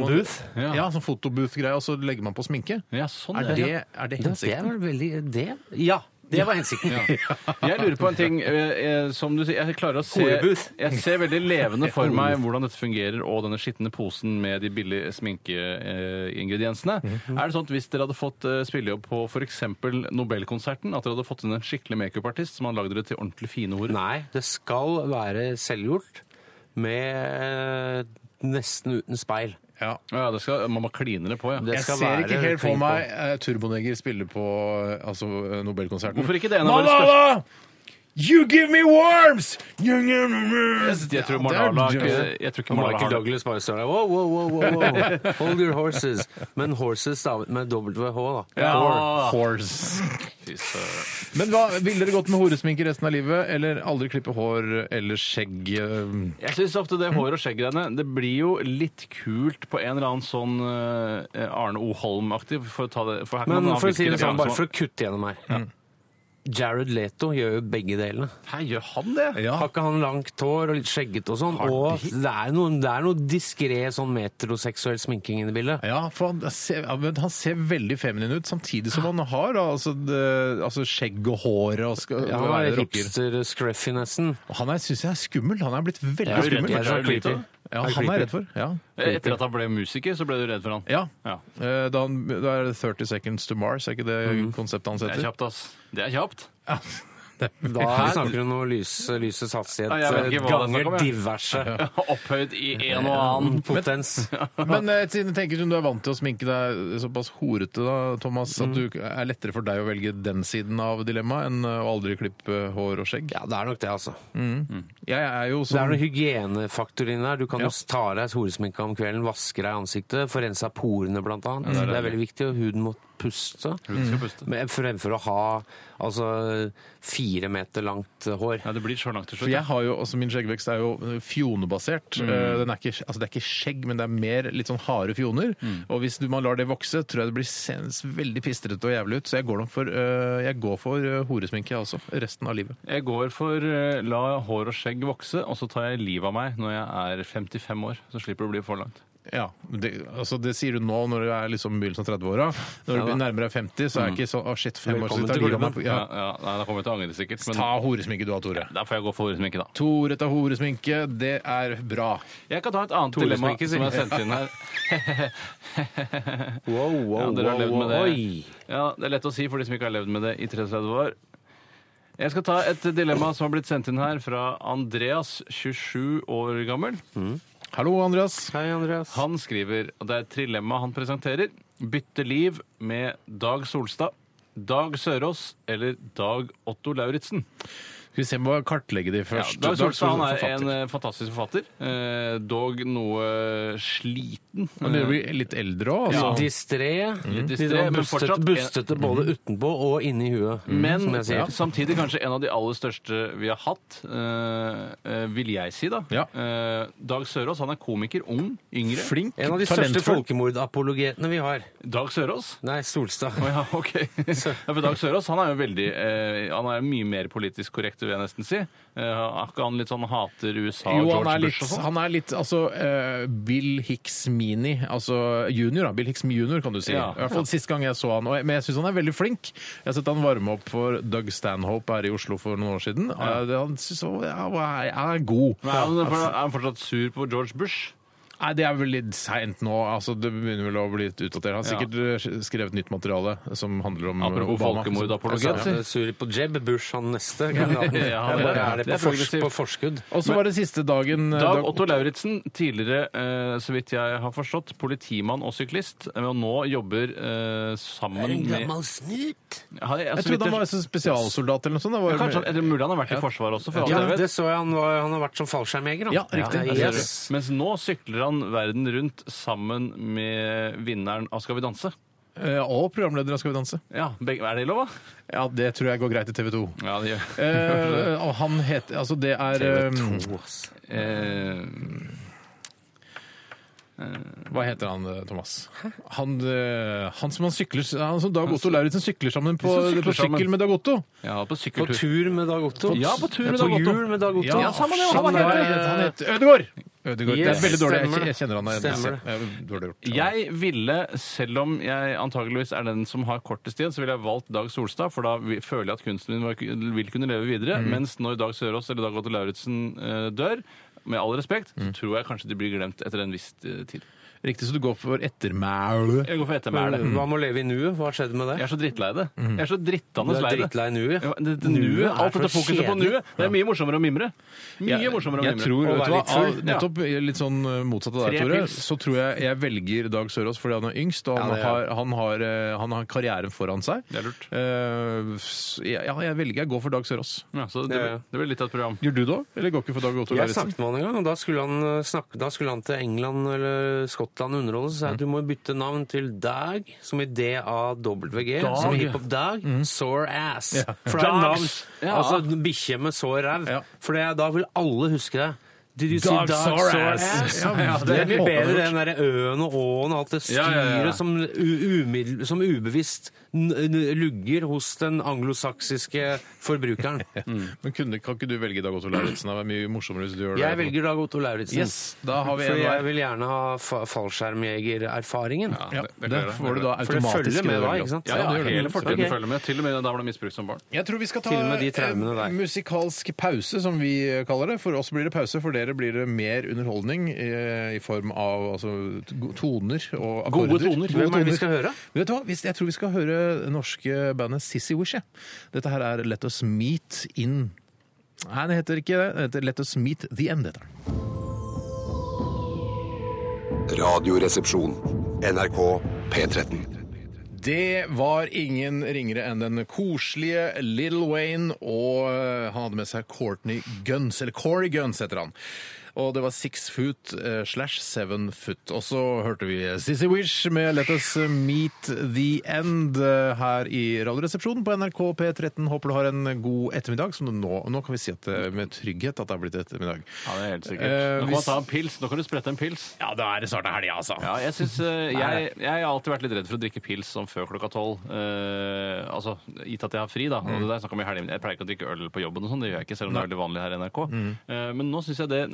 C: Hvor man-
D: booth?
C: Ja,
E: Ja.
C: sånn fotobooth-greie, og så legger man på sminke.
E: Ja, sånn
C: Er
E: ja.
C: det, er det
D: Ja, det
C: hensikten?
D: var veldig Det? Ja. Det var hensikten.
E: Jeg lurer på en ting. eh, eh, Som du sier, jeg klarer å se
D: Horebooth.
E: Jeg ser veldig levende for meg hvordan dette fungerer, og denne skitne posen med de billige sminkeingrediensene. Er det sånn at hvis dere hadde fått eh, spillejobb på f.eks. Nobelkonserten, at dere hadde fått inn en skikkelig makeupartist som hadde lagd dere til ordentlig fine ord?
D: Nei, det skal være selvgjort med eh, nesten uten speil.
C: Ja.
E: Ja, det skal, man må kline det på, ja.
D: Det
C: Jeg
D: skal
C: ser
D: være
C: ikke helt for
D: klin på.
C: meg eh, Turboneger spille på eh, altså, eh, Nobelkonserten.
E: Hvorfor ikke det? En av våre
C: Malala! You give me worms! Jeg,
E: Jeg tror Marnala Jeg tror ikke Marnala
D: Michael
E: har
D: Douglas bare står der wow, wow, wow, wow, wow. Hold your horses. Men horses stavet med WH, da.
E: Ja.
C: Horse.
E: Fy søren.
C: Men hva, Ville dere gått med horesminke resten av livet, eller aldri klippe hår eller skjegg? eh,
E: Jeg syns ofte det hår- og skjegggreiene Det blir jo litt kult på en eller annen sånn eh, Arne O. Holm-aktig. For, å ta det- for her kan
D: Men
E: man ha
D: for å si
E: hvilken
D: det sånn,
E: referanse
D: bare
E: man-
D: for å kutte gjennom her. Jared Leto gjør jo begge delene.
E: Hæ, gjør han det?
C: Ja.
D: Har ikke han langt hår og litt skjeggete og sånn?
C: Har
D: Og
C: de-
D: det er noe, det er noe diskré sånn metroseksuell sminking inne i bildet.
C: Ja, for han ser, ja, men han ser veldig feminin ut, samtidig som han har da, altså, det, altså skjegg og håret og skal
D: Ja, han
C: være
D: er
C: rocker.
D: hipster-scruffy nesten.
C: Han er, syns jeg er skummel. Han er blitt veldig
E: Jeg er jo redd
C: skummel.
E: for
D: Jeg er så
E: Jared Leto.
D: creepy.
C: Ja,
D: Jeg er
C: han er
D: creepy.
C: redd for. Ja.
E: Eh, Etter at han ble musiker, så ble du redd for han.
C: Ja.
E: Ja.
C: Eh, Da, han, da er det 30 Seconds to Mars, er ikke det konseptet hans
E: Mm. Det er
C: heter?
E: kjapt, ass. Det er kjapt.
D: Da snakker du om noe lys, lysets hastighet eh,
E: Ja, jeg vet ikke hva det er snakk
D: ganger
E: om, jeg.
D: diverse
E: Opphøyd i en og annen
D: potens.
C: Men eh, siden jeg tenker som du er vant til å sminke deg såpass horete, da, Thomas,
D: Mm.
C: at du er lettere for deg å velge den siden av dilemmaet enn eh, å aldri klippe hår og skjegg.
D: Ja, det er nok det, altså.
C: Jeg er jo
D: Det er
C: sånn
D: noen hygienefaktor inni der. Du kan
C: Ja.
D: jo ta av deg horesminka om kvelden, vaske deg i ansiktet, få rensa porene blant annet. det, er veldig viktig, og huden må puste.
E: Hun skal puste.
D: Mm. Men fremfor å ha altså, fire meter langt hår.
E: Ja, det blir så langt til
C: for
E: slutt.
C: jeg
E: ja.
C: har jo, altså Min skjeggvekst er jo eh, fjonebasert.
D: Mm.
C: Eh, Den er ikke, altså det er ikke skjegg, men det er mer litt sånn harde fjoner.
D: Mm.
C: Og hvis du, man lar det vokse, tror jeg det blir sens veldig pistrete og jævlig ut. Så jeg går nok for, eh, jeg går for eh, horesminke, jeg også. Resten av livet.
E: Jeg går for eh, la hår og skjegg vokse, og så tar jeg livet av meg når jeg er 55 år. Så slipper det å bli for langt.
C: Ja, det, altså det sier du nå når du er liksom i begynnelsen av 30-åra. Når du
E: Ja da. Mm.
C: nærmer deg 50, så er det ikke sånn å shit, fem år
D: Velkommen
C: siden tar
D: til
C: livet av meg.
D: klubben.
C: Ja.
E: Ja, ja, nei, da kommer jeg til å angre, sikkert.
C: Ta
E: Men
C: horesminke du har, Tore.
E: da får jeg gå for horesminke, da.
C: Tore tar horesminke, det er bra.
E: Jeg kan ta et annet
D: Tore som
E: dilemma
D: ikke
E: som
D: sier.
E: jeg sendte inn her.
D: Wow, wow,
E: Ja, dere har levd med det.
D: Oi.
E: Ja, det er lett å si for de som ikke har levd med det i 33 år. Jeg skal ta et dilemma som har blitt sendt inn her fra Andreas, 27 år gammel.
C: Hallo, Andreas.
D: Hei, Andreas.
E: Han skriver, og det er et trilemma han presenterer, bytte liv med Dag Solstad, Dag Sørås eller Dag Otto Lauritzen.
C: Skal vi se, må jeg kartlegge de først.
E: Dag Solstad han er
C: forfatter.
E: en eh, fantastisk forfatter, eh, dog noe sliten.
C: Han begynner å bli litt eldre òg,
E: eh, Ja. Mm.
C: altså.
D: Distré. Litt
E: distré,
D: sånn
E: men
D: bustete-
E: fortsatt- Mm.
D: bustete både utenpå og inni huet,
C: Mm,
E: Men
D: som jeg sier.
E: ja, samtidig kanskje en av de aller største vi har hatt, eh, eh, vil jeg si da.
C: Ja.
E: Eh, Dag Sørås, han er komiker, ung, yngre.
C: Flink,
D: En av de største
C: talentfull.
D: folkemordapologetene vi har.
E: Dag Sørås?
D: Nei, Solstad.
E: Å ja, ok. Ja, for Dag Sørås han er jo veldig eh, Han er mye mer politisk korrekt, vil jeg nesten si. Eh, er ikke han litt sånn hater USA og
C: Jo, han
E: George
C: er litt,
E: Bush og sånn?
C: han er litt altså eh, Bill Hicks Mini, altså junior. da, Bill Hicks junior, kan du si.
E: Ja.
C: I hvert fall sist gang jeg så han. Og, jeg- men jeg syns han er veldig flink. Jeg har sett han varme opp for Doug Stanhope her i Oslo for noen år siden. Eh, det- Han synes, han er, er god.
E: Men er, han, er han fortsatt sur på George Bush?
C: Nei, det er vel litt seint nå. Altså, det begynner vel å bli litt utdatert. Han har sikkert eh, skrevet nytt materiale som handler om
E: Apropos
C: Obama.
E: folkemordapologet.
D: Ja, Sur på Jeb Bush, han neste. kandidaten.
E: Ja, han er-
D: Jeg bare er det på,
E: det er
D: fors
E: progressivt.
D: på forskudd.
C: Og så var det siste dagen eh,
E: Dag Otto Lauritzen, tidligere, eh, så vidt jeg har forstått, politimann og syklist, eh, og nå jobber eh, sammen med
D: snut.
E: Ja,
C: Jeg
E: jeg- så vidt
C: trodde han var
E: jeg-
C: så spesialsoldat eller noe sånt. Det var,
E: Kanskje han, eller mulig han har vært i Forsvaret også, for alt
D: Ja,
E: jeg vet.
D: det så jeg han, var, han har vært som fallskjermjeger. han.
C: Ja, riktig.
D: Ja,
E: Jeg ser
D: yes.
E: det. Mens nå sykler han verden rundt sammen med vinneren av Skal vi danse.
C: Eh, og programleder av Skal vi danse.
E: Ja, begge, Er det lov, da?
C: Ja, det tror jeg går greit i TV 2.
E: Ja, det gjør
C: Eh, og han heter Altså, det er
E: Um,
C: eh,
D: To, ass.
E: Eh,
C: Hva heter han, eh, Thomas? Han, eh, han som han sykler Han som Dag Otto Lauritzen sykler sammen på,
E: De som sykler
C: på sykkel
E: sammen.
C: med Dag Otto.
E: ja, på
D: På
E: sykkeltur.
D: tur med Dag Otto.
E: Ja, på tur med
D: På
E: Dag Otto.
D: hjul med Dag Otto.
E: Ja, samme det, hva
C: han
E: han
C: heter.
E: heter.
C: Han heter Ødegaard! Ødegaard.
D: Yes,
C: det er veldig dårlig. Jeg,
D: stemmer det.
C: jeg kjenner han igjen.
D: Stemmer
C: Det er Dårlig gjort.
E: Jeg ville, selv om jeg antageligvis er den som har kortest tid, så ville jeg valgt Dag Solstad, for da vi- føler jeg at kunsten min var- vil kunne leve videre.
D: Mm.
E: Mens når Dag Sørås eller Dag Otto Lauritzen eh, dør, med all respekt,
D: Mm.
E: så tror jeg kanskje de blir glemt etter en viss eh, tid.
C: Riktig, så du går for ettermæle.
E: Jeg går for ettermæle.
D: Hva med å leve i nuet? Hva skjedde med det?
E: Jeg er så drittlei det. Jeg er så
D: Du
E: drittandes
D: er
E: lei det.
D: drittlei nuet.
E: Ja, det, det nuet,
D: er
E: alt
D: så
E: dette fokuset på
D: kjedelig.
E: nuet. Det er mye morsommere å mimre. Mye
C: Jeg-
E: morsommere å
C: jeg
E: mimre.
C: tror, vet du
D: Og være
C: hva,
D: litt full.
C: av- nettopp eh, litt sånn eh, motsatt av deg,
E: Tre
C: Tore,
E: pils.
C: så tror jeg jeg velger Dag Sørås fordi han er yngst, og han,
D: Ja, det er-
C: har, han, har, eh, han har karrieren foran seg.
E: Det er lurt.
C: Eh, s- ja, jeg velger jeg går for Dag Sørås.
E: Ja, så det,
D: Ja.
E: det blir litt av et program.
C: Gjør du det òg, eller går ikke for Dag Otto
D: Jeg
C: Lauritzen?
D: snakket med han en gang, og da skulle han, eh, snakke, da skulle han til England eller Skottland underholde. Så sa jeg du må bytte navn til Dag, som i DAWG, som i hiphop Dag. Sore ass. For det er navn.
E: Dags. Ja.
D: Altså bikkje med sår ræv.
C: Ja.
D: For det, er- da vil alle huske det. Did you see
C: Dag sore ass? Ja,
D: Ja, det er
C: det
D: mye
C: håper jeg
D: bedre
C: gjort.
D: enn den der øen og åen og alt det styret
E: Ja, ja, ja.
D: som, u umiddel- som ubevisst n n lugger hos den anglosaksiske forbrukeren.
C: Men kunne, kan ikke du velge Dag Otto Lauritzen? Det er mye morsommere hvis du gjør det.
D: Jeg velger Dag Otto Lauritzen.
C: Yes, da har vi en
D: For jeg
C: hver.
D: vil gjerne ha fa fallskjermjegererfaringen.
C: Ja,
E: det- det klarer
C: det
E: jeg.
C: får du da automatisk.
D: For det følger
C: i
D: med
C: det
D: da,
C: velger.
D: ikke sant?
E: Ja, ja,
C: det gjør det.
E: hele fortiden
D: Ok.
E: følger med. Til og med da ble misbrukt som barn.
C: Jeg tror vi skal ta
D: Til og med de traumene der.
C: en musikalsk pause, som vi kaller det. For oss blir det pause, for dere blir det mer underholdning eh, i form av altså, go- toner og akkorder.
E: Gode toner. Hvem er det
D: vi skal høre?
C: Vet du hva? Hvis- Jeg tror vi skal høre det norske bandet Sissy Wish. jeg. Dette her er Let Us Meet In. Nei, det heter ikke det. Det heter Let Us Meet The End. heter den.
G: Radioresepsjon. NRK P13.
C: Det var ingen ringere enn den koselige Little Wayne, og eh, han hadde med seg Courtney Guns, eller Corey Guns heter han. Og det var six foot eh, slash seven foot. Og så hørte vi Sissy Wish med Let Us Meet The End eh, her i Radioresepsjonen på NRK P13. Håper du har en god ettermiddag, som du nå, nå kan vi si at, eh, med trygghet at det har blitt ettermiddag.
E: Ja, det er helt sikkert.
C: Eh,
E: Nå kan
C: hvis-
E: man ta en pils. Nå kan du sprette en pils.
C: Ja, da er det snart helg, altså.
E: Ja, jeg, synes, eh, jeg, jeg har alltid vært litt redd for å drikke pils sånn før klokka tolv. Eh, altså, Gitt at jeg har fri, da. Og det der snakket om i helgen. Jeg pleier ikke å drikke øl på jobben, og sånn, det gjør jeg ikke, selv om det er veldig vanlig her i NRK. Eh, men nå syns jeg det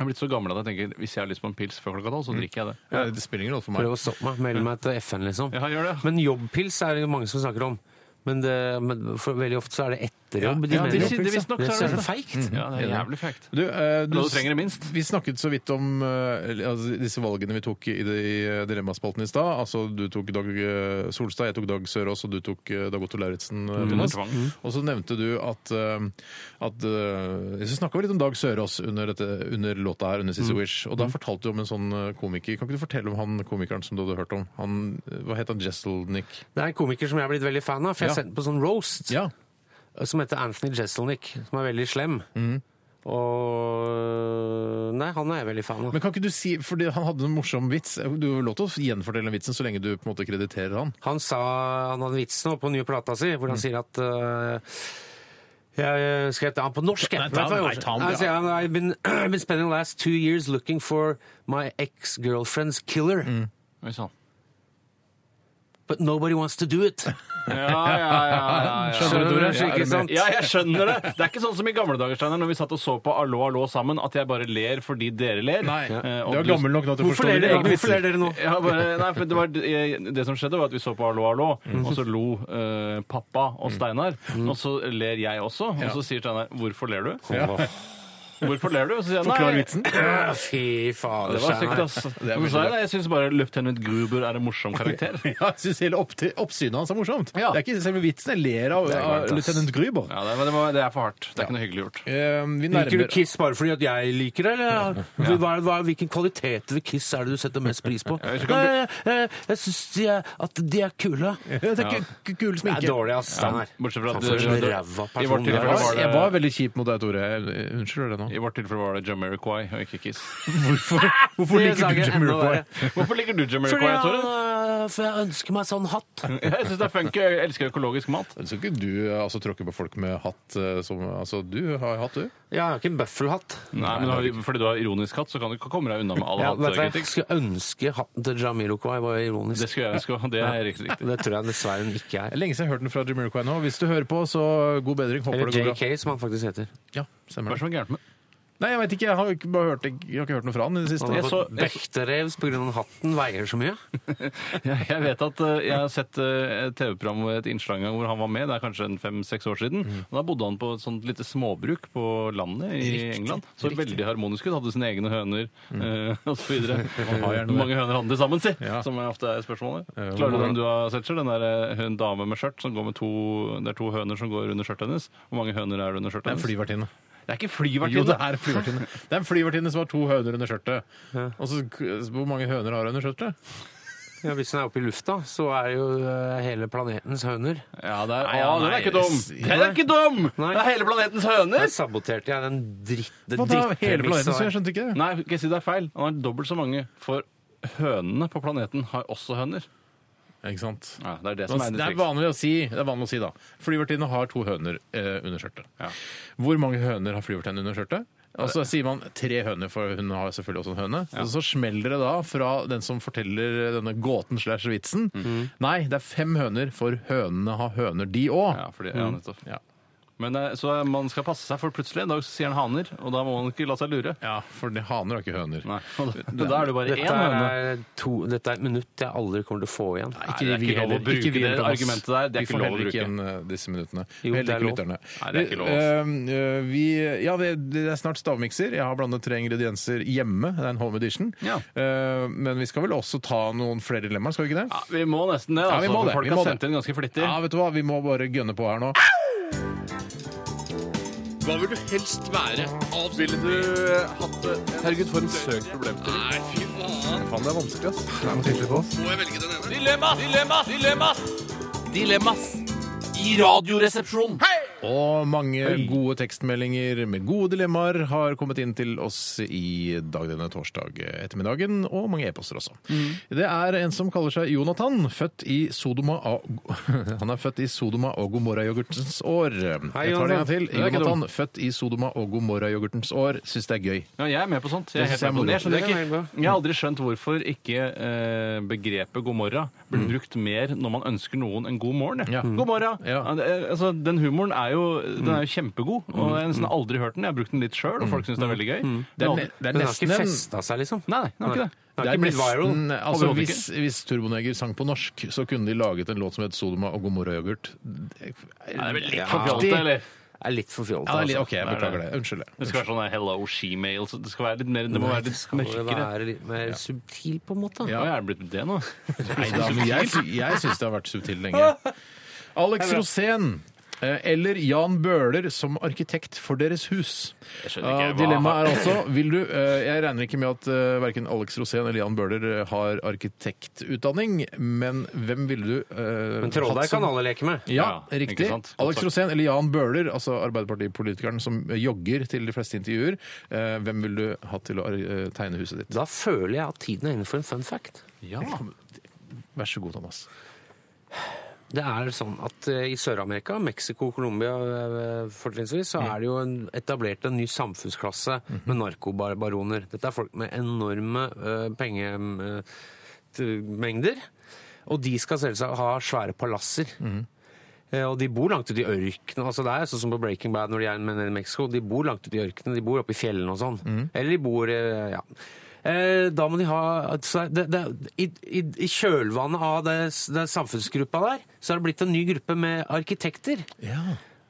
E: Jeg er blitt så gammel at jeg tenker hvis jeg har lyst på en pils før klokka tolv, så drikker jeg det.
C: Ja, Eh, Det spiller ingen rolle for meg.
D: Prøv å stoppe meg. Meld meg til FN, liksom.
E: Ja, gjør det.
D: Men jobbpils er det jo mange som snakker om. Men, det, men for veldig ofte så er det ett klatrejobb.
E: Ja,
D: mener
E: de
D: jo.
E: sier det visstnok,
D: Det
E: så er
D: er
E: det sånn. Mm.
D: så feigt.
E: Ja, det er jævlig frekt.
C: Du, eh, du,
E: Da du trenger det minst.
C: Vi snakket så vidt om eh, altså, disse valgene vi tok i, de- i eh, Dilemmaspalten i stad. Altså, du tok Dag eh, Solstad, jeg tok Dag Sørås, og du tok eh, Dag Otto Lauritzen. eh, Thomas.
E: Mm. tvang.
C: Og så nevnte du at, eh, at eh, Så snakka vi litt om Dag Sørås under, dette, under låta her, under
E: Mm.
C: Sissy Wish. Og da fortalte du om en sånn eh, komiker. Kan ikke du fortelle om han komikeren som du hadde hørt om? Han, eh, hva het han? Jesselnik?
D: Det er en komiker som jeg er blitt veldig fan av, for jeg
C: Ja.
D: har sett på sånn roast
C: Ja.
D: som heter Anthony Jeselnik, som er veldig slem.
E: Mm.
D: Og Nei, han er jeg veldig fan av.
C: Men kan ikke du si, fordi Han hadde en morsom vits. Du har lov til å gjenfortelle den vitsen så lenge du på en måte krediterer han.
D: Han sa han hadde en vits nå på den nye plata si, hvor han sier at eh, jeg skrev til han på norsk.
C: Nei,
D: jeg.
C: ta han,
D: Vet du hva jeg
C: nei,
D: gjorde?
C: ta han,
D: Nei,
C: ja.
D: sier han, I've been, I've been spending the last two years looking for my ex-girlfriend's killer,
E: Oi sann.
D: but nobody wants to do it.
E: Ja, ja, ja, ja, ja.
D: Skjønner du, Tore? Ikke sant?
E: Ja, jeg skjønner det. Det er ikke sånn som i gamle dager, Steiner, når vi satt og så på Allo, allo sammen, at jeg bare ler fordi dere ler.
C: Nei,
E: Eh, og
C: du er
E: du-
C: gammel nok nå til å
D: Hvorfor
C: forstå
D: ler
C: dine
D: dere,
C: egne
D: hvorfor
C: vitser.
D: ler dere nå?
E: Ja, bare, nei, for det, var, det det som skjedde, var at vi så på Hallo, hallo, og så lo eh, pappa og Steinar. Og så ler jeg også, og så sier Steinar 'Hvorfor ler du?' Hvorfor ler du? Og så sier jeg
C: Forklar
E: nei.
C: vitsen.
D: Ah, Fy fader,
E: Det var stygt,
D: Steinar.
E: ass. Og så sa jeg nei, jeg syns bare løftenant Gruber er en morsom karakter.
C: Ja, jeg synes hele opp oppsynet hans er morsomt.
E: Ja.
C: Det er ikke selve vitsen jeg ler av, av løytnant Gruber.
E: Ja, det, men det, var, det er for hardt. Det er ikke noe hyggelig gjort.
C: Eh, vi
D: Liker du
C: nærmer
D: Kiss bare fordi at jeg liker det? Eller? Hva, hva, hvilken kvalitet ved Kiss er det du setter mest pris på?
E: hvis
D: Nei,
E: du kan bli-
D: jeg jeg syns de er, at de er kule.
C: Ja, det er ikke k- kul
D: Det
C: sminke.
D: er dårlig, ass. Steinar.
E: Bortsett fra at
D: Faen, for en ræva
E: I
D: person
E: vårt
D: du er,
E: tilfelle
D: ass.
E: var det-
C: Jeg var veldig kjip mot deg, Tore. Jeg- Unnskyld det nå.
E: I vårt tilfelle var det Jamiroquai og ikke Kiss.
C: Hvorfor, hvorfor
D: Det
C: liker du
D: saken enda
C: Jamiroquai?
D: verre.
E: Hvorfor liker du
D: Fordi
E: Jamiroquai,
D: jeg,
E: Tore?
D: for jeg ønsker meg sånn hatt.
E: Jeg syns det er funky. Jeg elsker økologisk mat.
C: Skal ikke du eh, altså, tråkke på folk med hatt eh, som Altså, du har hatt, du.
D: Jeg har ikke en bøffelhatt.
E: Nei, men du har, Fordi du har ironisk hatt, så kan du ikke komme deg unna med all
D: Ja, vet du, hva, jeg
E: hattkritikk.
D: skulle ønske hatten til Jamiroquai var ironisk.
E: Det skulle jeg ønske, og det er riktig riktig.
D: Det tror jeg dessverre den ikke er.
C: Lenge siden jeg har hørt den fra Jamiroquai nå. Hvis du hører på, så god bedring. Håper
D: Eller
C: det går bra.
D: JK, som han faktisk heter.
C: Ja, stemmer det.
E: Hva er det som er gærent med
C: Nei, jeg vet ikke. Jeg har ikke, bare hørt, jeg har ikke hørt noe fra han i det siste.
D: Han har
E: Jeg så-
D: fått Bechterews pga. hatten veier så mye.
E: Ja, Jeg vet at eh, jeg har sett eh, et TV-program og et innslag en gang hvor han var med, det er kanskje en fem-seks år siden. Og da bodde han på et sånt lite småbruk på landet i England. Så veldig harmonisk ut. Hadde sine egne høner eh, og så videre. Hvor mange høner hadde de sammen, si?
C: Ja.
E: Som ofte er spørsmålet. Klarer du den du har sett, Kjell? Den der eh, en dame med skjørt som går med to Det er to høner som går under skjørtet hennes. Hvor mange høner er det under skjørtet
C: Det er en
E: hennes?
C: flyvertinne.
E: Det er ikke
C: Jo, det
E: flyvertinne!
C: er en flyvertinne. Det er en flyvertinne som har to høner under skjørtet. Og så, Hvor mange høner har hun under skjørtet?
D: Ja, hvis den er oppe i lufta, så er jo eh, hele planetens høner.
E: Ja, det er,
D: Nei,
E: Å,
D: ja,
E: den
D: nei,
E: er ikke dum!
D: jeg-
E: Den er ikke dum!
D: Nei.
E: Det er hele planetens
D: Der
E: høner!
D: saboterte jeg den dritt... det
C: Hva da? Hele planeten,
D: drittpremisset
C: så
D: der.
C: jeg skjønte ikke det.
E: Nei, kan jeg si det er feil. Han har dobbelt så mange, for hønene på planeten har også høner.
C: Ikke sant?
E: Ja, det er det som er
C: Det er vanlig å si, det er vanlig å si da. Flyvertinne har to høner eh, under skjørtet.
E: Ja.
C: Hvor mange høner har flyvertinne under skjørtet? Og så sier man tre høner, for hun har selvfølgelig også en høne. Og så smeller det da fra den som forteller denne gåten slash vitsen.
E: Mhm.
C: Nei, det er fem høner, for hønene har høner, de òg.
E: Ja, fordi, Mm. ja, nettopp.
C: Ja.
E: Men eh, så man skal passe seg, for plutselig en dag så sier han haner, og da må man ikke la seg lure.
C: Ja, for de haner har ikke høner.
E: Nei, og da- Da er det bare én
D: Dette
E: høne.
D: er, to, dette er et minutt jeg aldri kommer til å få igjen.
C: Ikke
E: Nei, det er
C: vi
E: ikke lov å
C: heller.
E: bruke
C: Ikke vi
E: det
C: heller, Thomas.
E: argumentet der. Det er
C: vi
E: ikke
C: får
E: lov å
C: heller ikke
E: bruke.
C: igjen eh, disse minuttene.
D: Jo,
C: heller ikke
D: det er lov.
C: lytterne.
E: Nei, det er ikke lov,
C: Eh, eh, vi, ja, det, det er snart stavmikser. Jeg har blandet tre ingredienser hjemme. Det er en home edition.
E: Ja.
C: Eh, men vi skal vel også ta noen flere dilemmaer, skal vi ikke det?
E: Ja, vi må nesten det,
C: Ja,
E: altså.
C: vi må
E: for
C: det,
E: Folk
C: vi må
E: har
C: det.
E: sendt inn ganske flittig.
C: Ja, vet du hva? Vi må bare gønne på her nå. Og mange gode tekstmeldinger med gode dilemmaer har kommet inn til oss i dag denne torsdag ettermiddagen, og mange e-poster også. Det er en som kaller seg Jonathan, født i Sodoma og, han er født i Sodoma og Gomorra-yoghurtens år.
D: Hei,
C: Jeg tar det en gang til.
E: Det er ikke
C: Jonathan, født i Sodoma og Gomorra-yoghurtens år. Syns det er gøy.
E: Ja, jeg er med på sånt. Jeg, er
C: Det
E: helt
C: synes jeg er
E: med på det.
C: moro.
D: Det er
E: jeg, skjønner ikke,
D: veldig
E: jeg har aldri skjønt hvorfor ikke eh, begrepet god morgen blir brukt mer når man ønsker noen en god morgen. jeg.
C: Ja.
E: God morgen!
C: Ja.
E: Ja, det er- altså, den humoren er jo, den er jo kjempegod, og jeg har nesten aldri hørt den. Jeg har brukt den litt sjøl, og folk syns det er veldig gøy.
C: Det er,
E: Men aldri-
C: ne- det er
D: Den har
C: nesten
D: ikke
C: en
D: festa seg, liksom.
E: Nei, nei, den har ikke det.
D: Den
C: det
D: har
C: er
D: ikke blitt viral.
C: nesten, altså
E: Overhodet
C: hvis, hvis Turboneger sang på norsk, så kunne de laget en låt som het 'Sodoma og Gomorra-yoghurt'. Det er-
E: Litt for pjalt, eller?
D: er litt for fjollete.
C: Ja, det er litt,
D: altså.
C: OK, jeg beklager det. Unnskyld.
E: Det skal være sånn der hello shemale. så Det skal være litt mer, det må
D: Nei,
E: være
D: det
E: litt
D: skal jo
E: mørkere.
D: være litt mer subtil, på en måte.
E: Ja, jeg er blitt det nå.
C: Nei da, men jeg, sy- jeg syns det har vært subtil lenge. Alex Rosén. eh, Eller Jan Bøhler som arkitekt for deres hus.
E: Jeg skjønner ikke,
C: Eh,
E: hva-
C: Dilemmaet er altså vil du, eh, Jeg regner ikke med at eh, verken Alex Rosén eller Jan Bøhler eh, har arkitektutdanning, men hvem ville du eh,
D: Men trolldeig
C: hatt som-
D: kan alle leke med.
C: Ja,
E: Ja,
C: riktig.
E: ikke sant? Godt
C: Alex
E: sagt.
C: Rosén eller Jan Bøhler, altså Arbeiderpartipolitikeren som jogger til de fleste intervjuer. eh, Hvem ville du hatt til å eh, tegne huset ditt?
D: Da føler jeg at tiden er inne for en fun fact.
E: Ja.
C: Vær så god, Thomas.
D: Det er sånn at eh, I Sør-Amerika, Mexico og Colombia eh,
C: Mm.
D: fortrinnsvis, så er det jo en, etablert en ny samfunnsklasse
C: Mhm.
D: med narkobaroner. Dette er folk med enorme eh, pengemengder. Og de skal selvsagt ha svære palasser.
E: Mm.
D: Eh, Og de bor langt ute i ørkenen. Altså det er sånn som på Breaking Bad når de er nede i Mexico. De bor langt ute i ørkenen, de bor oppe i fjellene og sånn.
E: Mm.
D: Eller de bor eh, ja. Eh, Da må de ha altså det, det, i, i, I kjølvannet av det, det samfunnsgruppa der, så er det blitt en ny gruppe med arkitekter.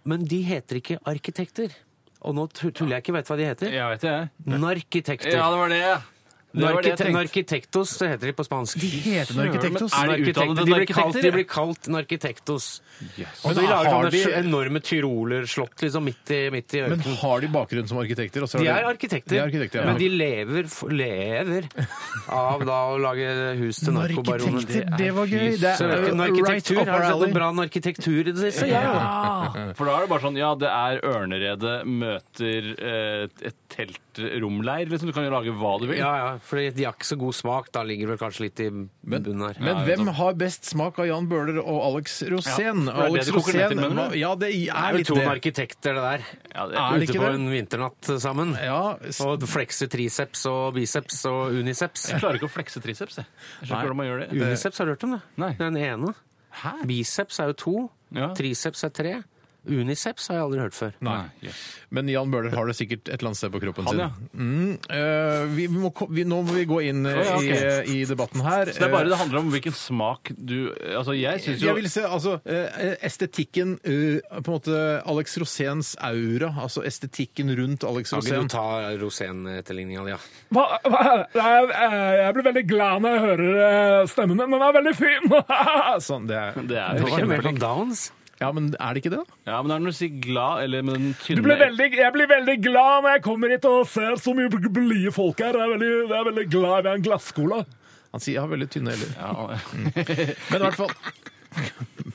D: Men de heter ikke arkitekter. Og nå tu- tuller jeg ikke, vet du hva de heter?
E: Jeg vet det, jeg.
D: Narkitekter.
E: Ja, det var det. Det var det jeg
D: Narkite
E: tenkte.
D: narkitektos det heter de på spansk. De
C: heter narkitektos.
E: Er de utdannede
D: de, blir kalt,
E: narkitekter,
D: de
E: ja?
D: blir kalt narkitektos.
E: Yes.
D: Og
C: Men
D: de
C: har
D: lager sånne
C: de-
D: enorme tyrolerslott liksom, midt i, midt i
C: Men
D: ørkenen.
C: har de bakgrunn som arkitekter? og så
D: De
C: har
D: er arkitekter,
C: De er arkitekter ja.
D: men de lever, f- lever av da å lage hus til narkobaroner.
C: Narkitekter, det var gøy! Det
D: Så
C: er
D: vet
C: uh,
D: du,
C: right up
D: narkitektur, Har
C: our
D: du sett
C: alley.
D: noe bra narkitektur i det siste? Ja!
E: For da er det bare sånn Ja, det er Ørneredet møter eh, et teltromleir. Liksom. Du kan jo lage hva du vil.
D: Ja, ja, for de har ikke så god smak. Da ligger det vel kanskje litt i bunnen her.
C: Men hvem har best smak av Jan Bøhler og Alex Rosén?
E: Ja, for det er
C: Alex
E: det det koker ned til,
C: Rosén
E: mener du?
C: var- Ja, det
D: Det
C: er
D: er vel
C: litt
D: to
C: det.
D: arkitekter, det der.
E: Ja, det-
C: Er det
D: Ute
C: ikke
D: på
C: det?
D: en vinternatt sammen.
C: Ja, s-
D: Og flekse triceps og biceps og uniceps.
E: Jeg klarer ikke å flekse triceps, jeg. Jeg skjønner
D: Nei.
E: ikke hvordan man gjør det.
D: Uniceps, har du hørt om det?
E: Nei.
D: Den ene.
E: Hæ?
D: Biceps er jo to.
E: Ja.
D: Triceps er tre. Uniceps har jeg aldri hørt før.
E: Nei. Yes.
C: men Jan Bøhler har det sikkert et eller annet sted på kroppen
E: Han,
C: sin.
E: ja.
C: Mm, eh, vi må, ko- vi, nå må vi gå inn eh,
E: Ja, ok.
C: i, i debatten her. Eh,
E: Så det er bare det handler om hvilken smak du Altså, jeg syns jo
C: Jeg vil se, altså, eh, estetikken eh, På en måte Alex Roséns aura, altså estetikken rundt Alex
D: Kan
C: Rosén.
D: ikke du ta Rosén-etterligninga di, ja?
I: Jeg blir veldig glad når jeg hører stemmen din. Den er veldig fin!
C: Sånn, det er,
E: Det er
D: Det
E: jo
D: var mer
E: kjempeflink.
D: sånn Downs.
C: ja, men er det ikke det, da?
E: Ja, men det er når du sier glad eller med den tynne
I: Du blir veldig, jeg blir veldig glad når jeg kommer hit og ser så mye bl- blide folk her. Jeg er veldig, jeg er veldig glad i en glasskola.
C: Han sier jeg har veldig tynne eller
E: Ja,
C: Men i hvert fall,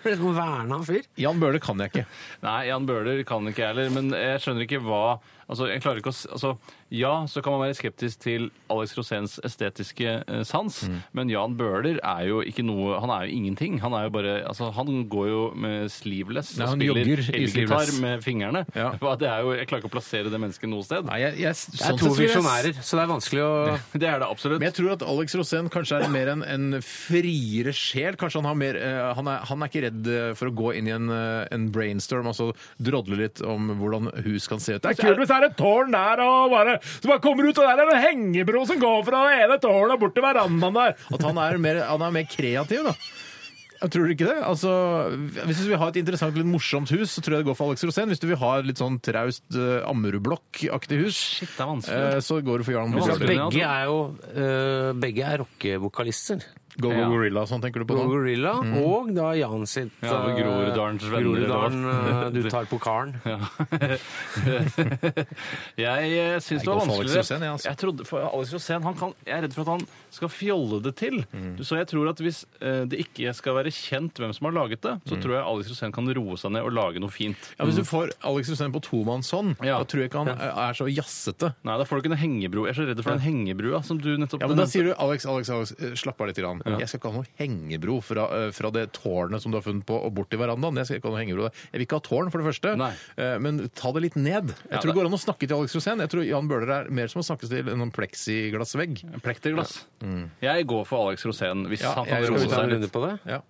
D: Sånn verna fyr.
C: Jan Bøhler kan jeg ikke.
E: Nei, Jan Bøhler kan ikke jeg heller, men jeg skjønner ikke hva Altså, jeg klarer ikke å s- altså, Ja, så kan man være skeptisk til Alex Roséns estetiske eh, sans,
C: Mm.
E: men Jan Bøhler er jo ikke noe Han er jo ingenting. Han er jo bare Altså, han går jo med sleeveless
C: Nei,
E: og
C: han
E: spiller
C: jogger i
E: elgitar
C: sleeveless.
E: med fingrene.
C: Ja.
E: Hva, Det er jo, jeg klarer ikke å plassere det mennesket noe sted.
C: Nei, jeg, jeg,
D: Det er
C: sånn sett
D: to
C: vil jeg-
D: visjonærer, så det er vanskelig å
E: Det er det absolutt.
C: Men jeg tror at Alex Rosén kanskje er mer en, en friere sjel. Kanskje han, har mer, eh, han, er, han er ikke redd eh, for å gå inn i en, eh, en brainstorm og så drodle litt om hvordan hus kan se ut. Det er
I: Kult
C: kult!
I: hvis det er et tårn der, og bare, så bare kommer ut, og der er det en hengebro som går fra det ene tårnet og bort til verandaen der.
C: At han er mer, han er mer kreativ, da. Jeg tror du ikke det? Altså, hvis du vil ha et interessant, litt morsomt hus, så tror jeg det går for Alex Rosén. Hvis du vil ha et litt sånn traust eh, Ammerudblokk-aktig hus,
E: Shit, det er vanskelig.
C: eh, så går du for Jan
E: Det var
C: Bøhler.
E: vanskelig.
D: Begge er jo eh, Begge er rockevokalister.
C: Go Go
E: Ja.
C: Gorilla og sånn, tenker du på
D: Go
C: nå?
D: Gorilla og da Jan sitt
E: Mm. Ja, og
D: eh,
E: Groruddalens venner,
D: Groruddalen,
E: eller hva?
D: eh, Du tar pokalen.
E: jeg eh, syns
C: Jeg
E: det
C: går for
E: var
C: Alex
E: vanskeligere.
C: Rosén, jeg, altså.
E: jeg, trodde, for Alex Rosén han kan, jeg er redd for at han skal fjolle det til.
C: Mm.
E: Så jeg tror at hvis eh, det ikke skal være kjent hvem som har laget det, så tror jeg Alex Rosén kan roe seg ned og lage noe fint.
C: Mm. Ja, Hvis du får Alex Rosén på tomannshånd,
E: Ja.
C: da tror jeg ikke han eh, er så jazzete.
E: Nei, da får du ikke en hengebro. Jeg er så redd for den hengebrua som du nettopp
C: Ja, men Da
E: nevnte.
C: sier du Alex, Alex, Alex, eh, slapp av litt. Grann. Jeg skal ikke ha noe hengebro fra, eh, fra det tårnet som du har funnet på, og bort til verandaen. Jeg skal ikke ha noe hengebro der. Jeg vil ikke ha tårn, for det første,
E: Nei.
C: Eh, men ta det litt ned. Jeg
E: Ja,
C: tror det
E: det-
C: går an å snakke til Alex Rosén. Jeg tror Jan Bøhler er mer som å snakkes til enn en sånn pleksiglassvegg.
E: Plekterglass. Jeg går for Alex Rosén hvis
C: Mm. Ja,
E: han kan
C: jeg skal
D: Skal
E: roe
D: vi ta en
E: seg.
D: runde på det?
C: Ja.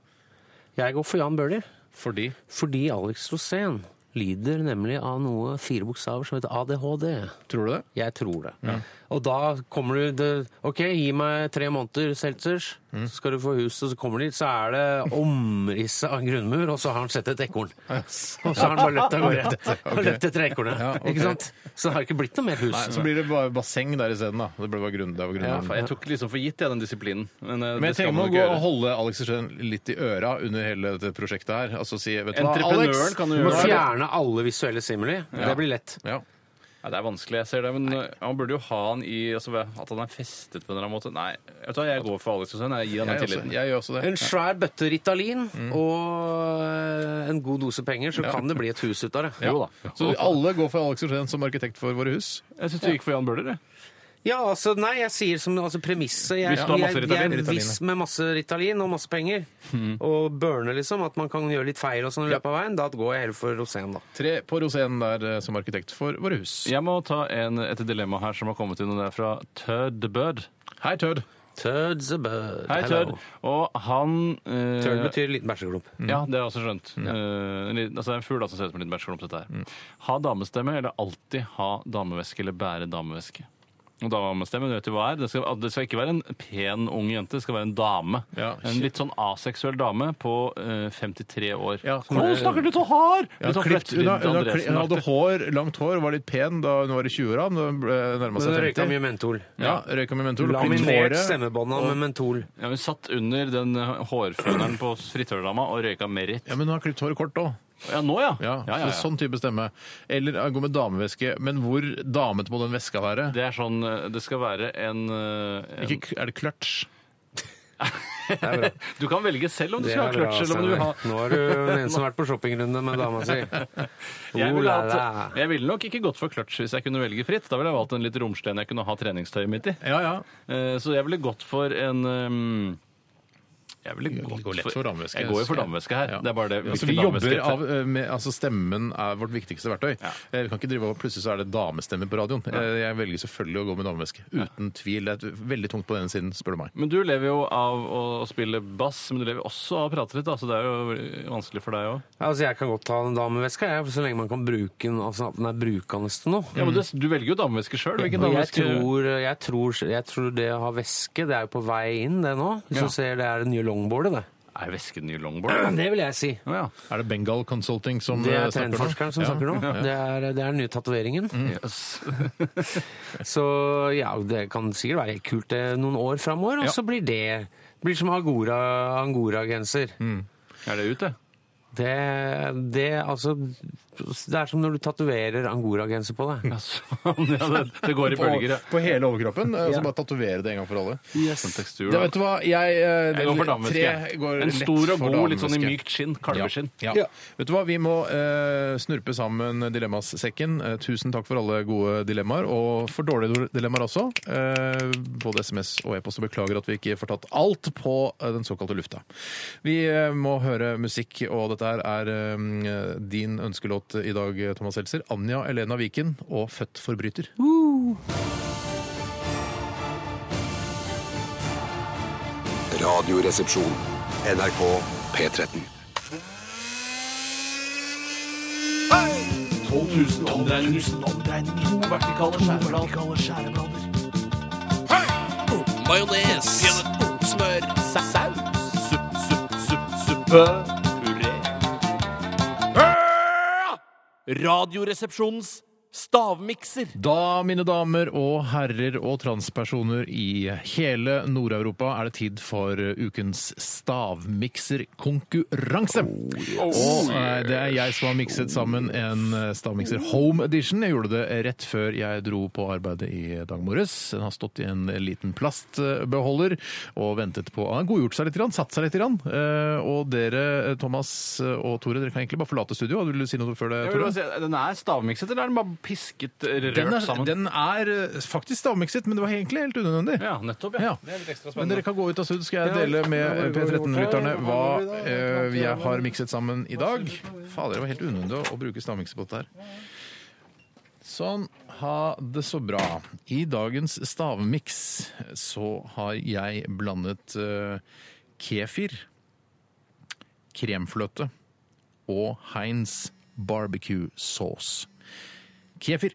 D: Jeg går for Jan Bøhler.
C: Fordi
D: Fordi Alex Rosén lider nemlig av noe fire bokstaver som heter ADHD.
C: Tror du det?
D: Jeg tror det. Og da kommer du det, OK, gi meg tre måneder Seltzers,
C: Mm.
D: så skal du få huset, så kommer de dit, så er det omrisset av en grunnmur, og så har han sett et ekorn. Og så har han bare løpt av gårde. Og løpt etter ekornet.
C: Ja, ok.
D: Ikke sant? Så det har ikke blitt noe mer hus.
C: Nei, så blir det bare basseng der isteden, da. Det ble bare grunn, det var
E: Ja,
C: grunnen.
E: faen, jeg tok liksom for gitt jeg, den disiplinen. Men, eh,
C: Men
E: det
C: jeg
E: skal
C: trenger
E: man
C: å gå
E: jo ikke
C: og
E: gjøre.
C: holde Alex Røen litt i øra under hele dette prosjektet her. Altså si vet du hva,
E: Entreprenøren
C: Alex,
E: kan jo
D: Du må
E: gjøre det.
D: fjerne alle visuelle simuli. Det blir lett.
C: Ja.
E: Nei, det er vanskelig, jeg ser det, men eh, han burde jo ha han i altså, At han er festet på en eller annen måte. Nei, vet du hva, jeg går for Alex Rosén. Jeg gir
C: Jeg,
E: han den
C: også,
E: tilliten.
C: jeg gjør også det.
D: En svær bøtte Ritalin
C: Mm.
D: og eh, en god dose penger, så kan det bli et hus ut av det.
E: Jo da.
C: Så alle går for Alex Rosén som arkitekt for våre hus.
E: Jeg syns du gikk for Jan Bøhler, jeg.
D: Ja, altså, nei, jeg sier som altså, premisset jeg,
E: Hvis du har masse
D: jeg-
E: Ritalin, Hmm.
D: jeg,
C: Ritalin, ja.
D: Hvis med masse Ritalin og masse penger, og burne, liksom, at man kan gjøre litt feil og sånn i løpet av veien, da går jeg heller for Rosén, da.
C: Tre på Rosén der eh, som arkitekt for våre hus.
E: Jeg må ta en, et dilemma her som har kommet inn, og det er fra Tødd Bird.
C: Hei, Tødd.
D: Tød the bird.
E: Hei, Tødd.
D: hello.
E: Og han eh,
D: Tød betyr liten bæsjeklump.
E: Ja, det har jeg også skjønt. Eh, en liten- altså, det er en fugl da, som ser ut som en liten bæsjeklump. dette her. Ha damestemme eller alltid ha dameveske eller bære dameveske? Og damestemme, du vet jo hva er. Det skal, det skal ikke være en pen, ung jente, det skal være en dame.
C: Ja,
E: en litt sånn aseksuell dame på eh, 53 år.
C: Ja,
E: Å, stakkar, du så hard!
C: Ja,
E: Litt sånn
C: klipt, hun, har-
E: Fletterid
C: hun, har kli- hun hadde
E: Andresen-aktig.
C: hår, langt hår, var litt pen da hun var i 20-åra, men da nærma
D: Så
C: seg 50.
D: røyka mye mentol.
C: Ja, røyka med mentol. og klipt
D: Laminert
C: håret.
D: stemmebånda med mentol.
E: Ja, hun satt under den eh, hårføneren på fritørdama og røyka merit.
C: Ja, men hun har klipt håret kort òg.
E: Ja, nå, ja.
C: Ja,
E: ja, ja, ja.
C: så Sånn type stemme. Eller eh, gå med dameveske. Men hvor damete må den veska være?
E: Det er sånn eh, Det skal være en, eh, en
C: Ikke, k- er det clutch?
E: Du kan velge selv om du
D: Det
E: skal ha
D: er bra,
E: kløtsj eller om du vil ha
D: Steinar. Nå er du den som har vært på shoppingrunde med dama si.
E: Jeg
D: Oh
E: ville,
D: la
E: hatt,
D: la.
E: jeg ville nok ikke gått for kløtsj hvis jeg kunne velge fritt. Da ville jeg valgt en litt romsten jeg kunne ha treningstøyet mitt i.
C: Ja, ja.
E: Eh, Så jeg ville gått for en ehm, Jeg ville
C: Jeg
E: gått
C: går lett for dameveske.
E: Jeg går jo for dameveske her.
C: Ja.
E: Det er bare det.
C: Altså,
E: hvilken
C: vi jobber
E: dameveske-
C: av, eh, med, altså Stemmen er vårt viktigste verktøy. Eh, Vi kan ikke drive og Plutselig så er det damestemme på radioen. Eh, Jeg velger selvfølgelig å gå med dameveske. Uten tvil. Det er veldig tungt på den ene siden, spør du meg.
E: Men du lever jo av å spille bass, men du lever også av å prate litt, da, så det er jo vanskelig for deg òg.
D: Altså, jeg kan godt ha en dameveske, jeg, så lenge man kan bruke den, altså at den er brukende til noe.
C: Mm.
E: Ja, men du, du velger jo dameveske sjøl. Hvilken
D: Og jeg
E: dameveske?
D: tror, jeg, tror, jeg tror det å ha veske, det er jo på vei inn, det nå. Hvis
E: Ja.
D: du ser det er det nye longboardet, det.
E: Er vesken ny longboard?
D: Det vil jeg si.
E: Å ja.
C: Er det Bengal Consulting som
D: Det
C: eh,
D: er
C: snakker nå?
D: trendforskeren som
C: Ja.
D: snakker nå. Det er, det er den nye tatoveringen.
E: Mm.
D: Så ja, det kan sikkert være helt kult det noen år framover, og så blir det blir som Agora- angora-genser.
E: Er det ut, det?
D: Det, det, altså, det er som når du tatoverer angora-genser på deg.
E: Ja, sånn, ja, det, det går i
C: På,
E: bølger, ja.
C: på hele overkroppen. eh,
D: Ja.
C: Så bare tatovere det en gang for alle.
E: Sånn tekstur,
C: Ja,
E: da.
C: vet du hva, jeg, eh,
E: Jeg går for
C: tre
E: dameveske. jeg.
C: går
E: En
C: lett
E: stor og
C: for
E: god, litt sånn i
C: dameveske.
E: mykt skinn. Kalveskinn.
C: Ja. Ja. Vet du hva, vi må eh, snurpe sammen Dilemmassekken. Eh, tusen takk for alle gode dilemmaer, og for dårlige dilemmaer også. Eh, både SMS og e-post. og Beklager at vi ikke får tatt alt på eh, den såkalte lufta. Vi eh, må høre musikk, og dette her er eh, din ønskelåt i dag, Thomas Seltzer. Anja Elena Viken og 'Født forbryter'.
G: Radioresepsjon. NRK P13.
J: Radioresepsjonens stavmikser.
C: Da, mine damer og herrer og transpersoner i hele Nord-Europa, er det tid for ukens stavmikserkonkurranse. Og eh, det er jeg som har mikset sammen en eh, stavmikser home edition. Jeg gjorde det rett før jeg dro på arbeidet i dag morges. Den har stått i en liten plastbeholder og ventet på Han har godgjort seg litt, grann, satt seg litt. Grann. Eh, Og dere, Thomas og Tore, dere kan egentlig bare forlate studio. Vil du si noe før det,
E: Jeg vil
C: Tore?
E: bare si, den er stavmikset, eller er den bare pisket, rørt
C: Den er,
E: sammen?
C: den er eh, faktisk stavmikset, men det var egentlig helt unødvendig.
E: Ja, nettopp, ja.
C: Ja. Men dere kan gå ut av studio, skal jeg dele med P13-lytterne hva eh, jeg har mikset sammen i dag. Fader, det var helt unødvendig å- å bruke stavmikset på dette her. Sånn. Ha det så bra. I dagens stavmiks så har jeg blandet eh, kefir, kremfløte og Heinz barbecue sauce. Kefir,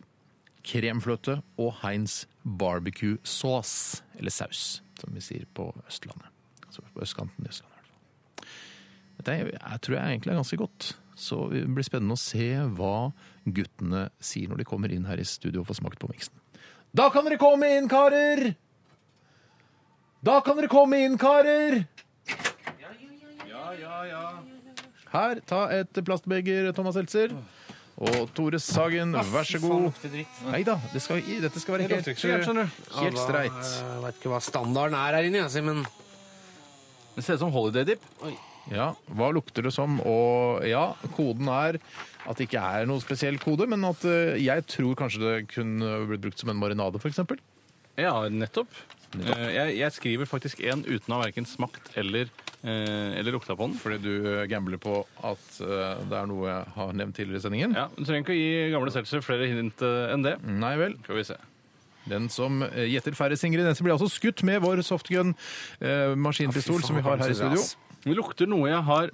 C: kremfløte og Heinz barbecue sauce, eller saus, som vi sier på Østlandet. Altså på østkanten i Østlandet. i hvert fall. Dette er, jeg tror jeg egentlig er ganske godt. Så det blir spennende å se hva guttene sier når de kommer inn her i studio og får smakt på miksen. Da kan dere komme inn, karer! Da kan dere komme inn, karer! Her, ta et plastbeger, Thomas Seltzer. Og Tore Sagen, vær så god. Nei da, det skal, dette skal være
D: Det
C: helt,
D: lukter ikke så gærent, skjønner
C: helt streit.
D: Jeg vet ikke hva standarden er her inne, jeg, Simen.
E: Det ser ut som holiday dip.
C: Ja, Hva lukter det som? Og ja, koden er at det ikke er noe spesiell kode, men at eh, jeg tror kanskje det kunne blitt brukt som en marinade, f.eks.
E: Ja, nettopp. Eh, Jeg, jeg skriver faktisk en uten å ha verken smakt eller, eh, eller lukta på den.
C: Fordi du eh, gambler på at eh, det er noe jeg har nevnt tidligere i sendingen.
E: Ja, Du trenger ikke å gi gamle Seltzer flere hint eh, enn det.
C: Nei vel.
E: Skal vi se.
C: Den som eh, gjetter færrest ingredienser, blir altså skutt med vår softgun-maskinpistol som vi har her i studio.
E: Det lukter noe jeg har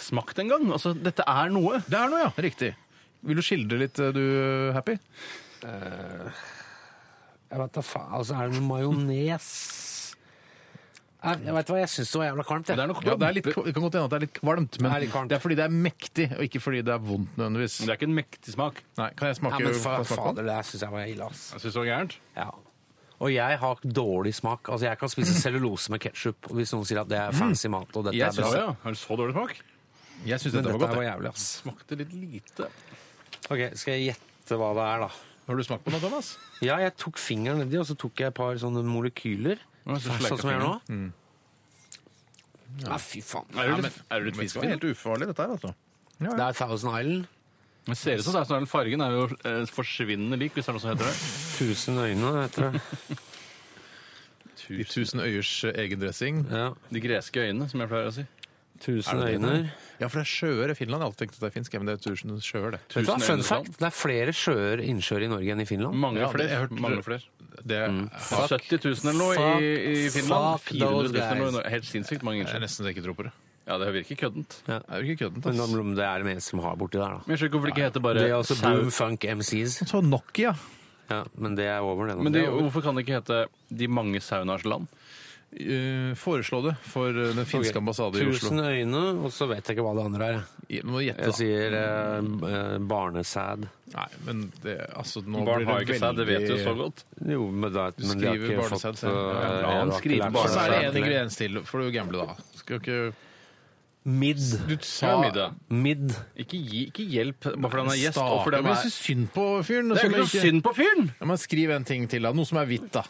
E: smakt en gang. Altså, dette er noe.
C: Det er noe, ja. Riktig. Vil du skildre litt, eh, du, Happy?
D: Jeg vet da faen. Altså, er det noe majones? Jeg, jeg vet hva, jeg syns det var jævla kvalmt, jeg.
E: Det er noe
C: Ja, det, er litt, det kan godt hende at det er litt kvalmt, men
D: Det
C: det
D: er
C: er,
D: litt kvalmt.
C: fordi det er mektig, og ikke fordi det er vondt nødvendigvis.
E: Men det er ikke en mektig smak.
C: Nei, kan jeg
D: Ja,
C: smake,
D: men
C: kan
D: fa
C: jeg smake på den?
D: fader, det syns jeg var ille, ass.
E: Jeg synes det var gærent.
D: Ja. Og jeg har dårlig smak. Altså, jeg kan spise cellulose med ketsjup hvis noen sier at det er fancy mat, og dette
E: Jeg
D: er
E: synes,
D: bra.
E: ja. Har du så dårlig smak?
C: Jeg syns
D: Men
C: dette var
D: dette
C: godt.
D: her var
C: jeg.
D: jævlig, ass.
E: Smakte litt lite.
D: Ok, skal jeg gjette hva det er, da?
C: Har du smakt på den, Thomas?
D: Ja, jeg tok fingeren nedi, og så tok jeg et par sånne molekyler.
E: Ja, så sleika
D: Sånn som jeg gjør nå. Ja. fy faen.
E: Er du
C: men-
E: litt, er
C: Men
E: du litt
C: Det var
E: fiskefin?
C: helt ufarlig, dette her, altså.
D: Det er Thousand Island.
E: Det ser ut som det er sånn, fargen er jo eh, forsvinnende lik, hvis det er noe som heter det.
D: Tusen øyne, heter det.
C: De tusen øyers eh, egen dressing.
D: Ja.
E: De greske øynene, som jeg pleier å si.
D: Tusen
C: det det
D: øyne.
C: Ja, for det er sjøer i Finland. Jeg har alltid tenkt at det er finsk, ja, men det er tusen sånn. sjøer, det.
D: Vet du hva,
E: Tusen
D: fun
E: øynes
D: fact, det er flere sjøer innsjøer i Norge enn i Finland.
E: Mange
C: Ja, det- jeg
E: flere.
C: hørte-
E: Mange flere.
C: Det er,
E: 70 000 eller noe
D: Fuck-
E: i, i Finland.
D: fuck
E: 400 000 eller noe.
D: those
E: i Norge. Helt sinnssykt mange
C: jeg er
E: innsjøer.
C: nesten så jeg ikke tror på det.
E: Ja, det virker køddent.
C: Det er jo ikke køddent,
D: Men
C: ass.
D: om det er det eneste de har borti der, da.
E: Men jeg skjønner ikke hvorfor det ikke heter
D: Det er
E: bare
D: altså Boom Funk MCs.
C: Så Nokia.
D: Ja, men det er over, det nå.
E: Men de, hvorfor kan det ikke hete De mange saunaers land?
C: Eh, Foreslå det for eh, den finske ambassade i Oslo.
D: Tusen øyne, og så vet jeg ikke hva det andre er.
C: Jeg må gjette,
D: Jeg
C: da.
D: sier eh, eh, barnesæd.
C: Nei, men det, altså, nå
E: Barn har
C: blir
E: jo ikke
C: det
E: sæd, det vet du jo så
C: veldig
E: godt.
D: Jo, men, da, men de har
C: skriver
D: ikke
C: barnesæd,
D: fått
C: sier han. Ja,
D: eh,
E: la han
D: jeg har ikke
E: skrive
D: lært
C: Og
D: meg
E: barnesæd.
C: så er det
E: Barnesæd,
C: en ingrediens til. Får du gamble, da? Skal jo ikke
D: Midd.
C: Du
E: Ja, middag.
D: Midd.
E: Ikke, gi, ikke hjelp bare fordi han er gjest. Og
C: Starte
E: fordi
C: med
E: han
C: å
E: er...
C: si synd på fyren.
E: Det
C: som
E: er jo ikke noe
C: ikke-
E: synd på fyren!
C: Ja, men skriv en ting til, da. Noe som er hvitt, da.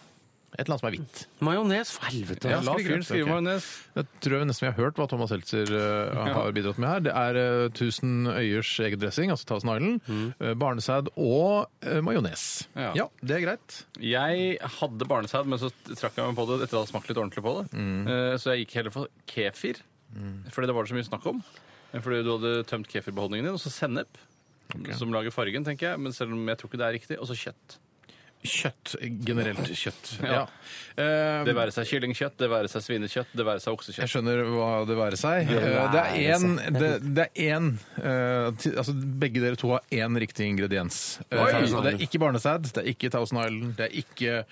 C: Et eller annet som er hvitt.
D: Majones, for helvete.
C: Ja,
E: La
C: skriv
E: fyren
C: grønt,
E: skrive
C: ok.
E: majones.
C: Det tror jeg nesten vi har hørt hva Thomas Seltzer eh, har bidratt med her. Det er eh, 1000 øyers egen dressing, altså Thousand Island, eh, barnesæd og uh, majones.
E: Mm. Ja.
C: ja, det er greit.
E: Jeg hadde barnesæd, men så trakk jeg meg på det etter å ha smakt litt ordentlig på det. Eh, Så jeg gikk heller for kefir, fordi det var det så mye snakk om. Eh, Fordi du hadde tømt kefirbeholdningen din, og så sennep, som lager fargen, tenker jeg. Men selv om jeg tror ikke det er riktig. Og så kjøtt.
C: Kjøtt. Generelt kjøtt.
E: Ja.
C: ja. Eh,
E: Det være seg kyllingkjøtt, det være seg svinekjøtt, det være seg oksekjøtt.
C: Jeg skjønner hva det være seg. Eh, Det er én det, det er en, eh, ti- altså Begge dere to har én riktig ingrediens. Eh,
E: Oi!
C: og det er ikke barnesæd, det er ikke Thousand Island, det er ikke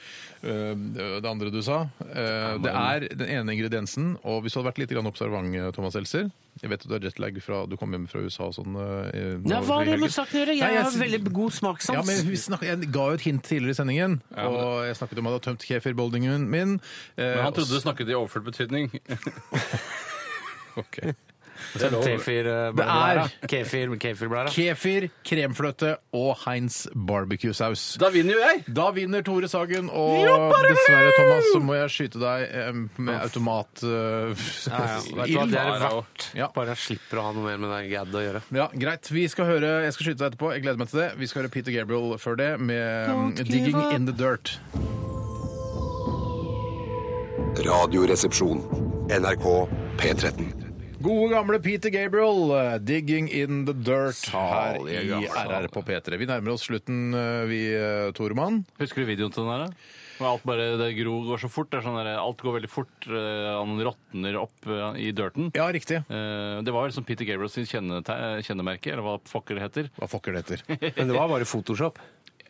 C: eh, det andre du sa. Eh, det er den ene ingrediensen. Og hvis du hadde vært litt grann observant, eh, Thomas Elser Jeg vet at du har jetlag fra du kom hjem fra USA og sånn. eh, i-
D: Ja, hva har det med saken å gjøre?
C: Nei,
D: Jeg
C: jeg
D: har
C: sy-
D: veldig sånn. god smakssans.
C: ja, men vi snak- Jeg ga jo et hint tidligere i sendingen, og jeg snakket om at jeg hadde tømt kefirbeholdningen min. eh,
E: Men han trodde du snakket i overført betydning.
C: Ok.
D: Kefir,
C: Det
D: eh,
C: er-
D: blæra. Kefir, kefirblæra.
C: Kefir, kremfløte og Heinz barbecue-saus.
E: Da vinner jo jeg!
C: Da vinner Tore Sagen, og dessverre, Thomas, så må jeg skyte deg eh, med automat... eh,
D: Ja, ja. Vet du hva,
C: ild.
D: det er
E: Blæra.
D: verdt.
C: Ja.
D: Bare jeg slipper å ha noe mer med det gaddet å gjøre.
C: Ja, greit. Vi skal høre, Jeg skal skyte deg etterpå. Jeg gleder meg til det. Vi skal høre Peter Gabriel før det med mm, 'Digging in the Dirt'.
G: Radioresepsjon. NRK P13.
C: Gode gamle Peter Gabriel, eh, 'Digging in the Dirt' her
E: Salige
C: i
E: gamle.
C: RR på P3. Vi nærmer oss slutten, eh, vi, eh, Toremann.
E: Husker du videoen til den der? da? Hvor alt bare det gro går så fort. Det er sånn der, alt går veldig fort. eh, Han råtner opp eh, i dirten.
C: Ja, riktig.
E: Eh, Det var vel som Peter Gabriel sin kjennete- kjennemerke, eller hva fucker det heter.
C: Hva fucker det heter?
D: Men det var bare Photoshop.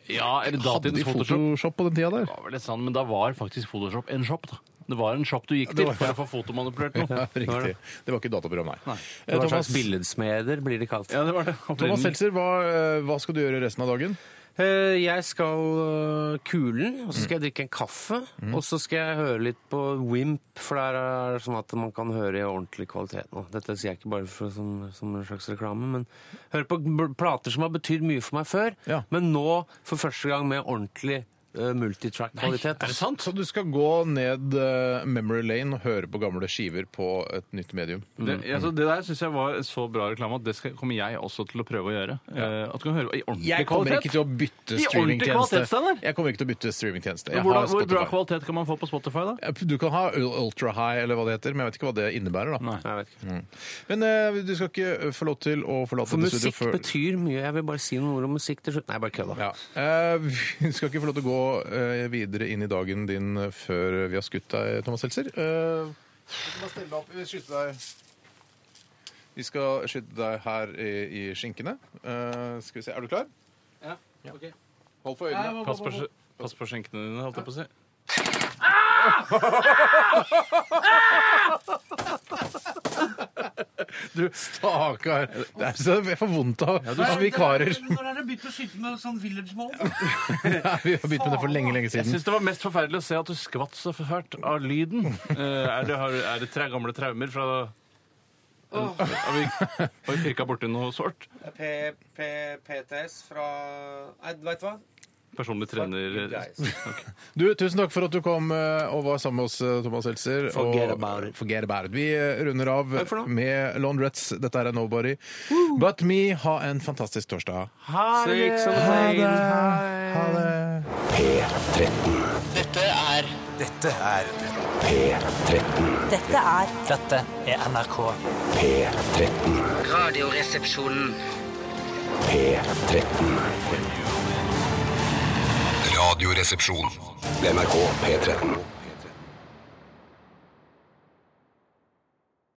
E: Ja, eller
C: Hadde
E: datidens
C: de
E: Photoshop.
C: Photoshop på den tida der?
E: Det var vel litt sånn, men da var faktisk Photoshop en shop, da. Det var en shop du gikk
C: Det
E: til
C: var-
E: for å få fotomanipulert noe.
C: Ja,
E: Det var
C: riktig.
E: det.
C: Det var ikke dataprogram, nei. Eh,
D: Det var en
C: Thomas-
D: slags billedsmeder, blir det kalt.
E: Ja, det var det.
C: Thomas Seltzer, hva, eh, hva skal du gjøre resten av dagen?
D: Eh, Jeg skal eh, kulen, og så skal jeg drikke en kaffe. Og så skal jeg høre litt på Wimp, for der er det sånn at man kan høre i ordentlig kvalitet nå. Dette sier jeg ikke bare for, som, som en slags reklame, men høre på bl- plater som har betydd mye for meg før,
C: Ja.
D: men nå for første gang med ordentlig eh, multitrack-kvalitet.
E: Er det sant?
C: Så du skal gå ned eh, memory lane og høre på gamle skiver på et nytt medium?
E: Det, altså, det der syns jeg var så bra reklame at det skal, kommer jeg også til å prøve å gjøre. Eh, at du kan høre i ordentlig
C: Jeg kommer
E: kvalitet.
C: ikke til å bytte
E: I ordentlig
C: streamingtjeneste.
E: kvalitet, Steinar.
C: Jeg kommer ikke til å bytte streamingtjeneste. Jeg
E: Men Hvordan,
C: har
E: hvor bra
C: Spotify.
E: kvalitet kan man få på Spotify, da?
C: Du kan ha ultra high, eller hva det heter, men jeg vet ikke hva det innebærer. da.
E: Nei.
D: Jeg vet ikke.
C: Men eh, du skal ikke få lov til å forlate
D: For
C: dette
D: musikk
C: studioet før-
D: betyr mye. Jeg vil bare si noen ord om musikk til slutt. Nei, bare kødda.
C: Ja. Eh, vi skal ikke få lov til å gå eh, videre inn i dagen din eh, før vi har skutt deg, Thomas Seltzer. Eh, vi skal stille deg opp. Vi skal skyte deg. Vi skal skyte deg her i, i skinkene. Eh, skal vi se. Er du klar?
D: Ja, ok.
C: Hold for øynene.
E: Pass på, pass på skjenkene dine, holdt jeg på å si.
C: Du, stakkar. Det er så, jeg får vondt av av vikarer.
K: Når er det begynt å skyte med sånn village mode?
C: Vi har begynt med det for lenge, lenge
E: Jeg
C: siden.
E: syns det var mest forferdelig å se at du skvatt så fælt av lyden. Eh, er det, har, er det tre gamle traumer fra Har vi, har vi pirka borti noe sårt?
D: PTS fra Nei, veit du hva?
E: Personlig trener
C: Du, Tusen takk for at du kom eh, og var sammen med oss, eh, Thomas Seltzer.
D: Forget
C: og,
D: about it.
C: Forget about it. Vi eh, runder av
D: for nå.
C: med Laundrettes. Dette er Nobody. But me. Ha en fantastisk torsdag.
D: Six on the
C: Ha det.
A: P13.
F: Dette er
A: P13.
L: Dette er
F: Dette er NRK.
A: P13.
K: Radioresepsjonen.
A: P13.
G: Radioresepsjon.
A: NRK P13.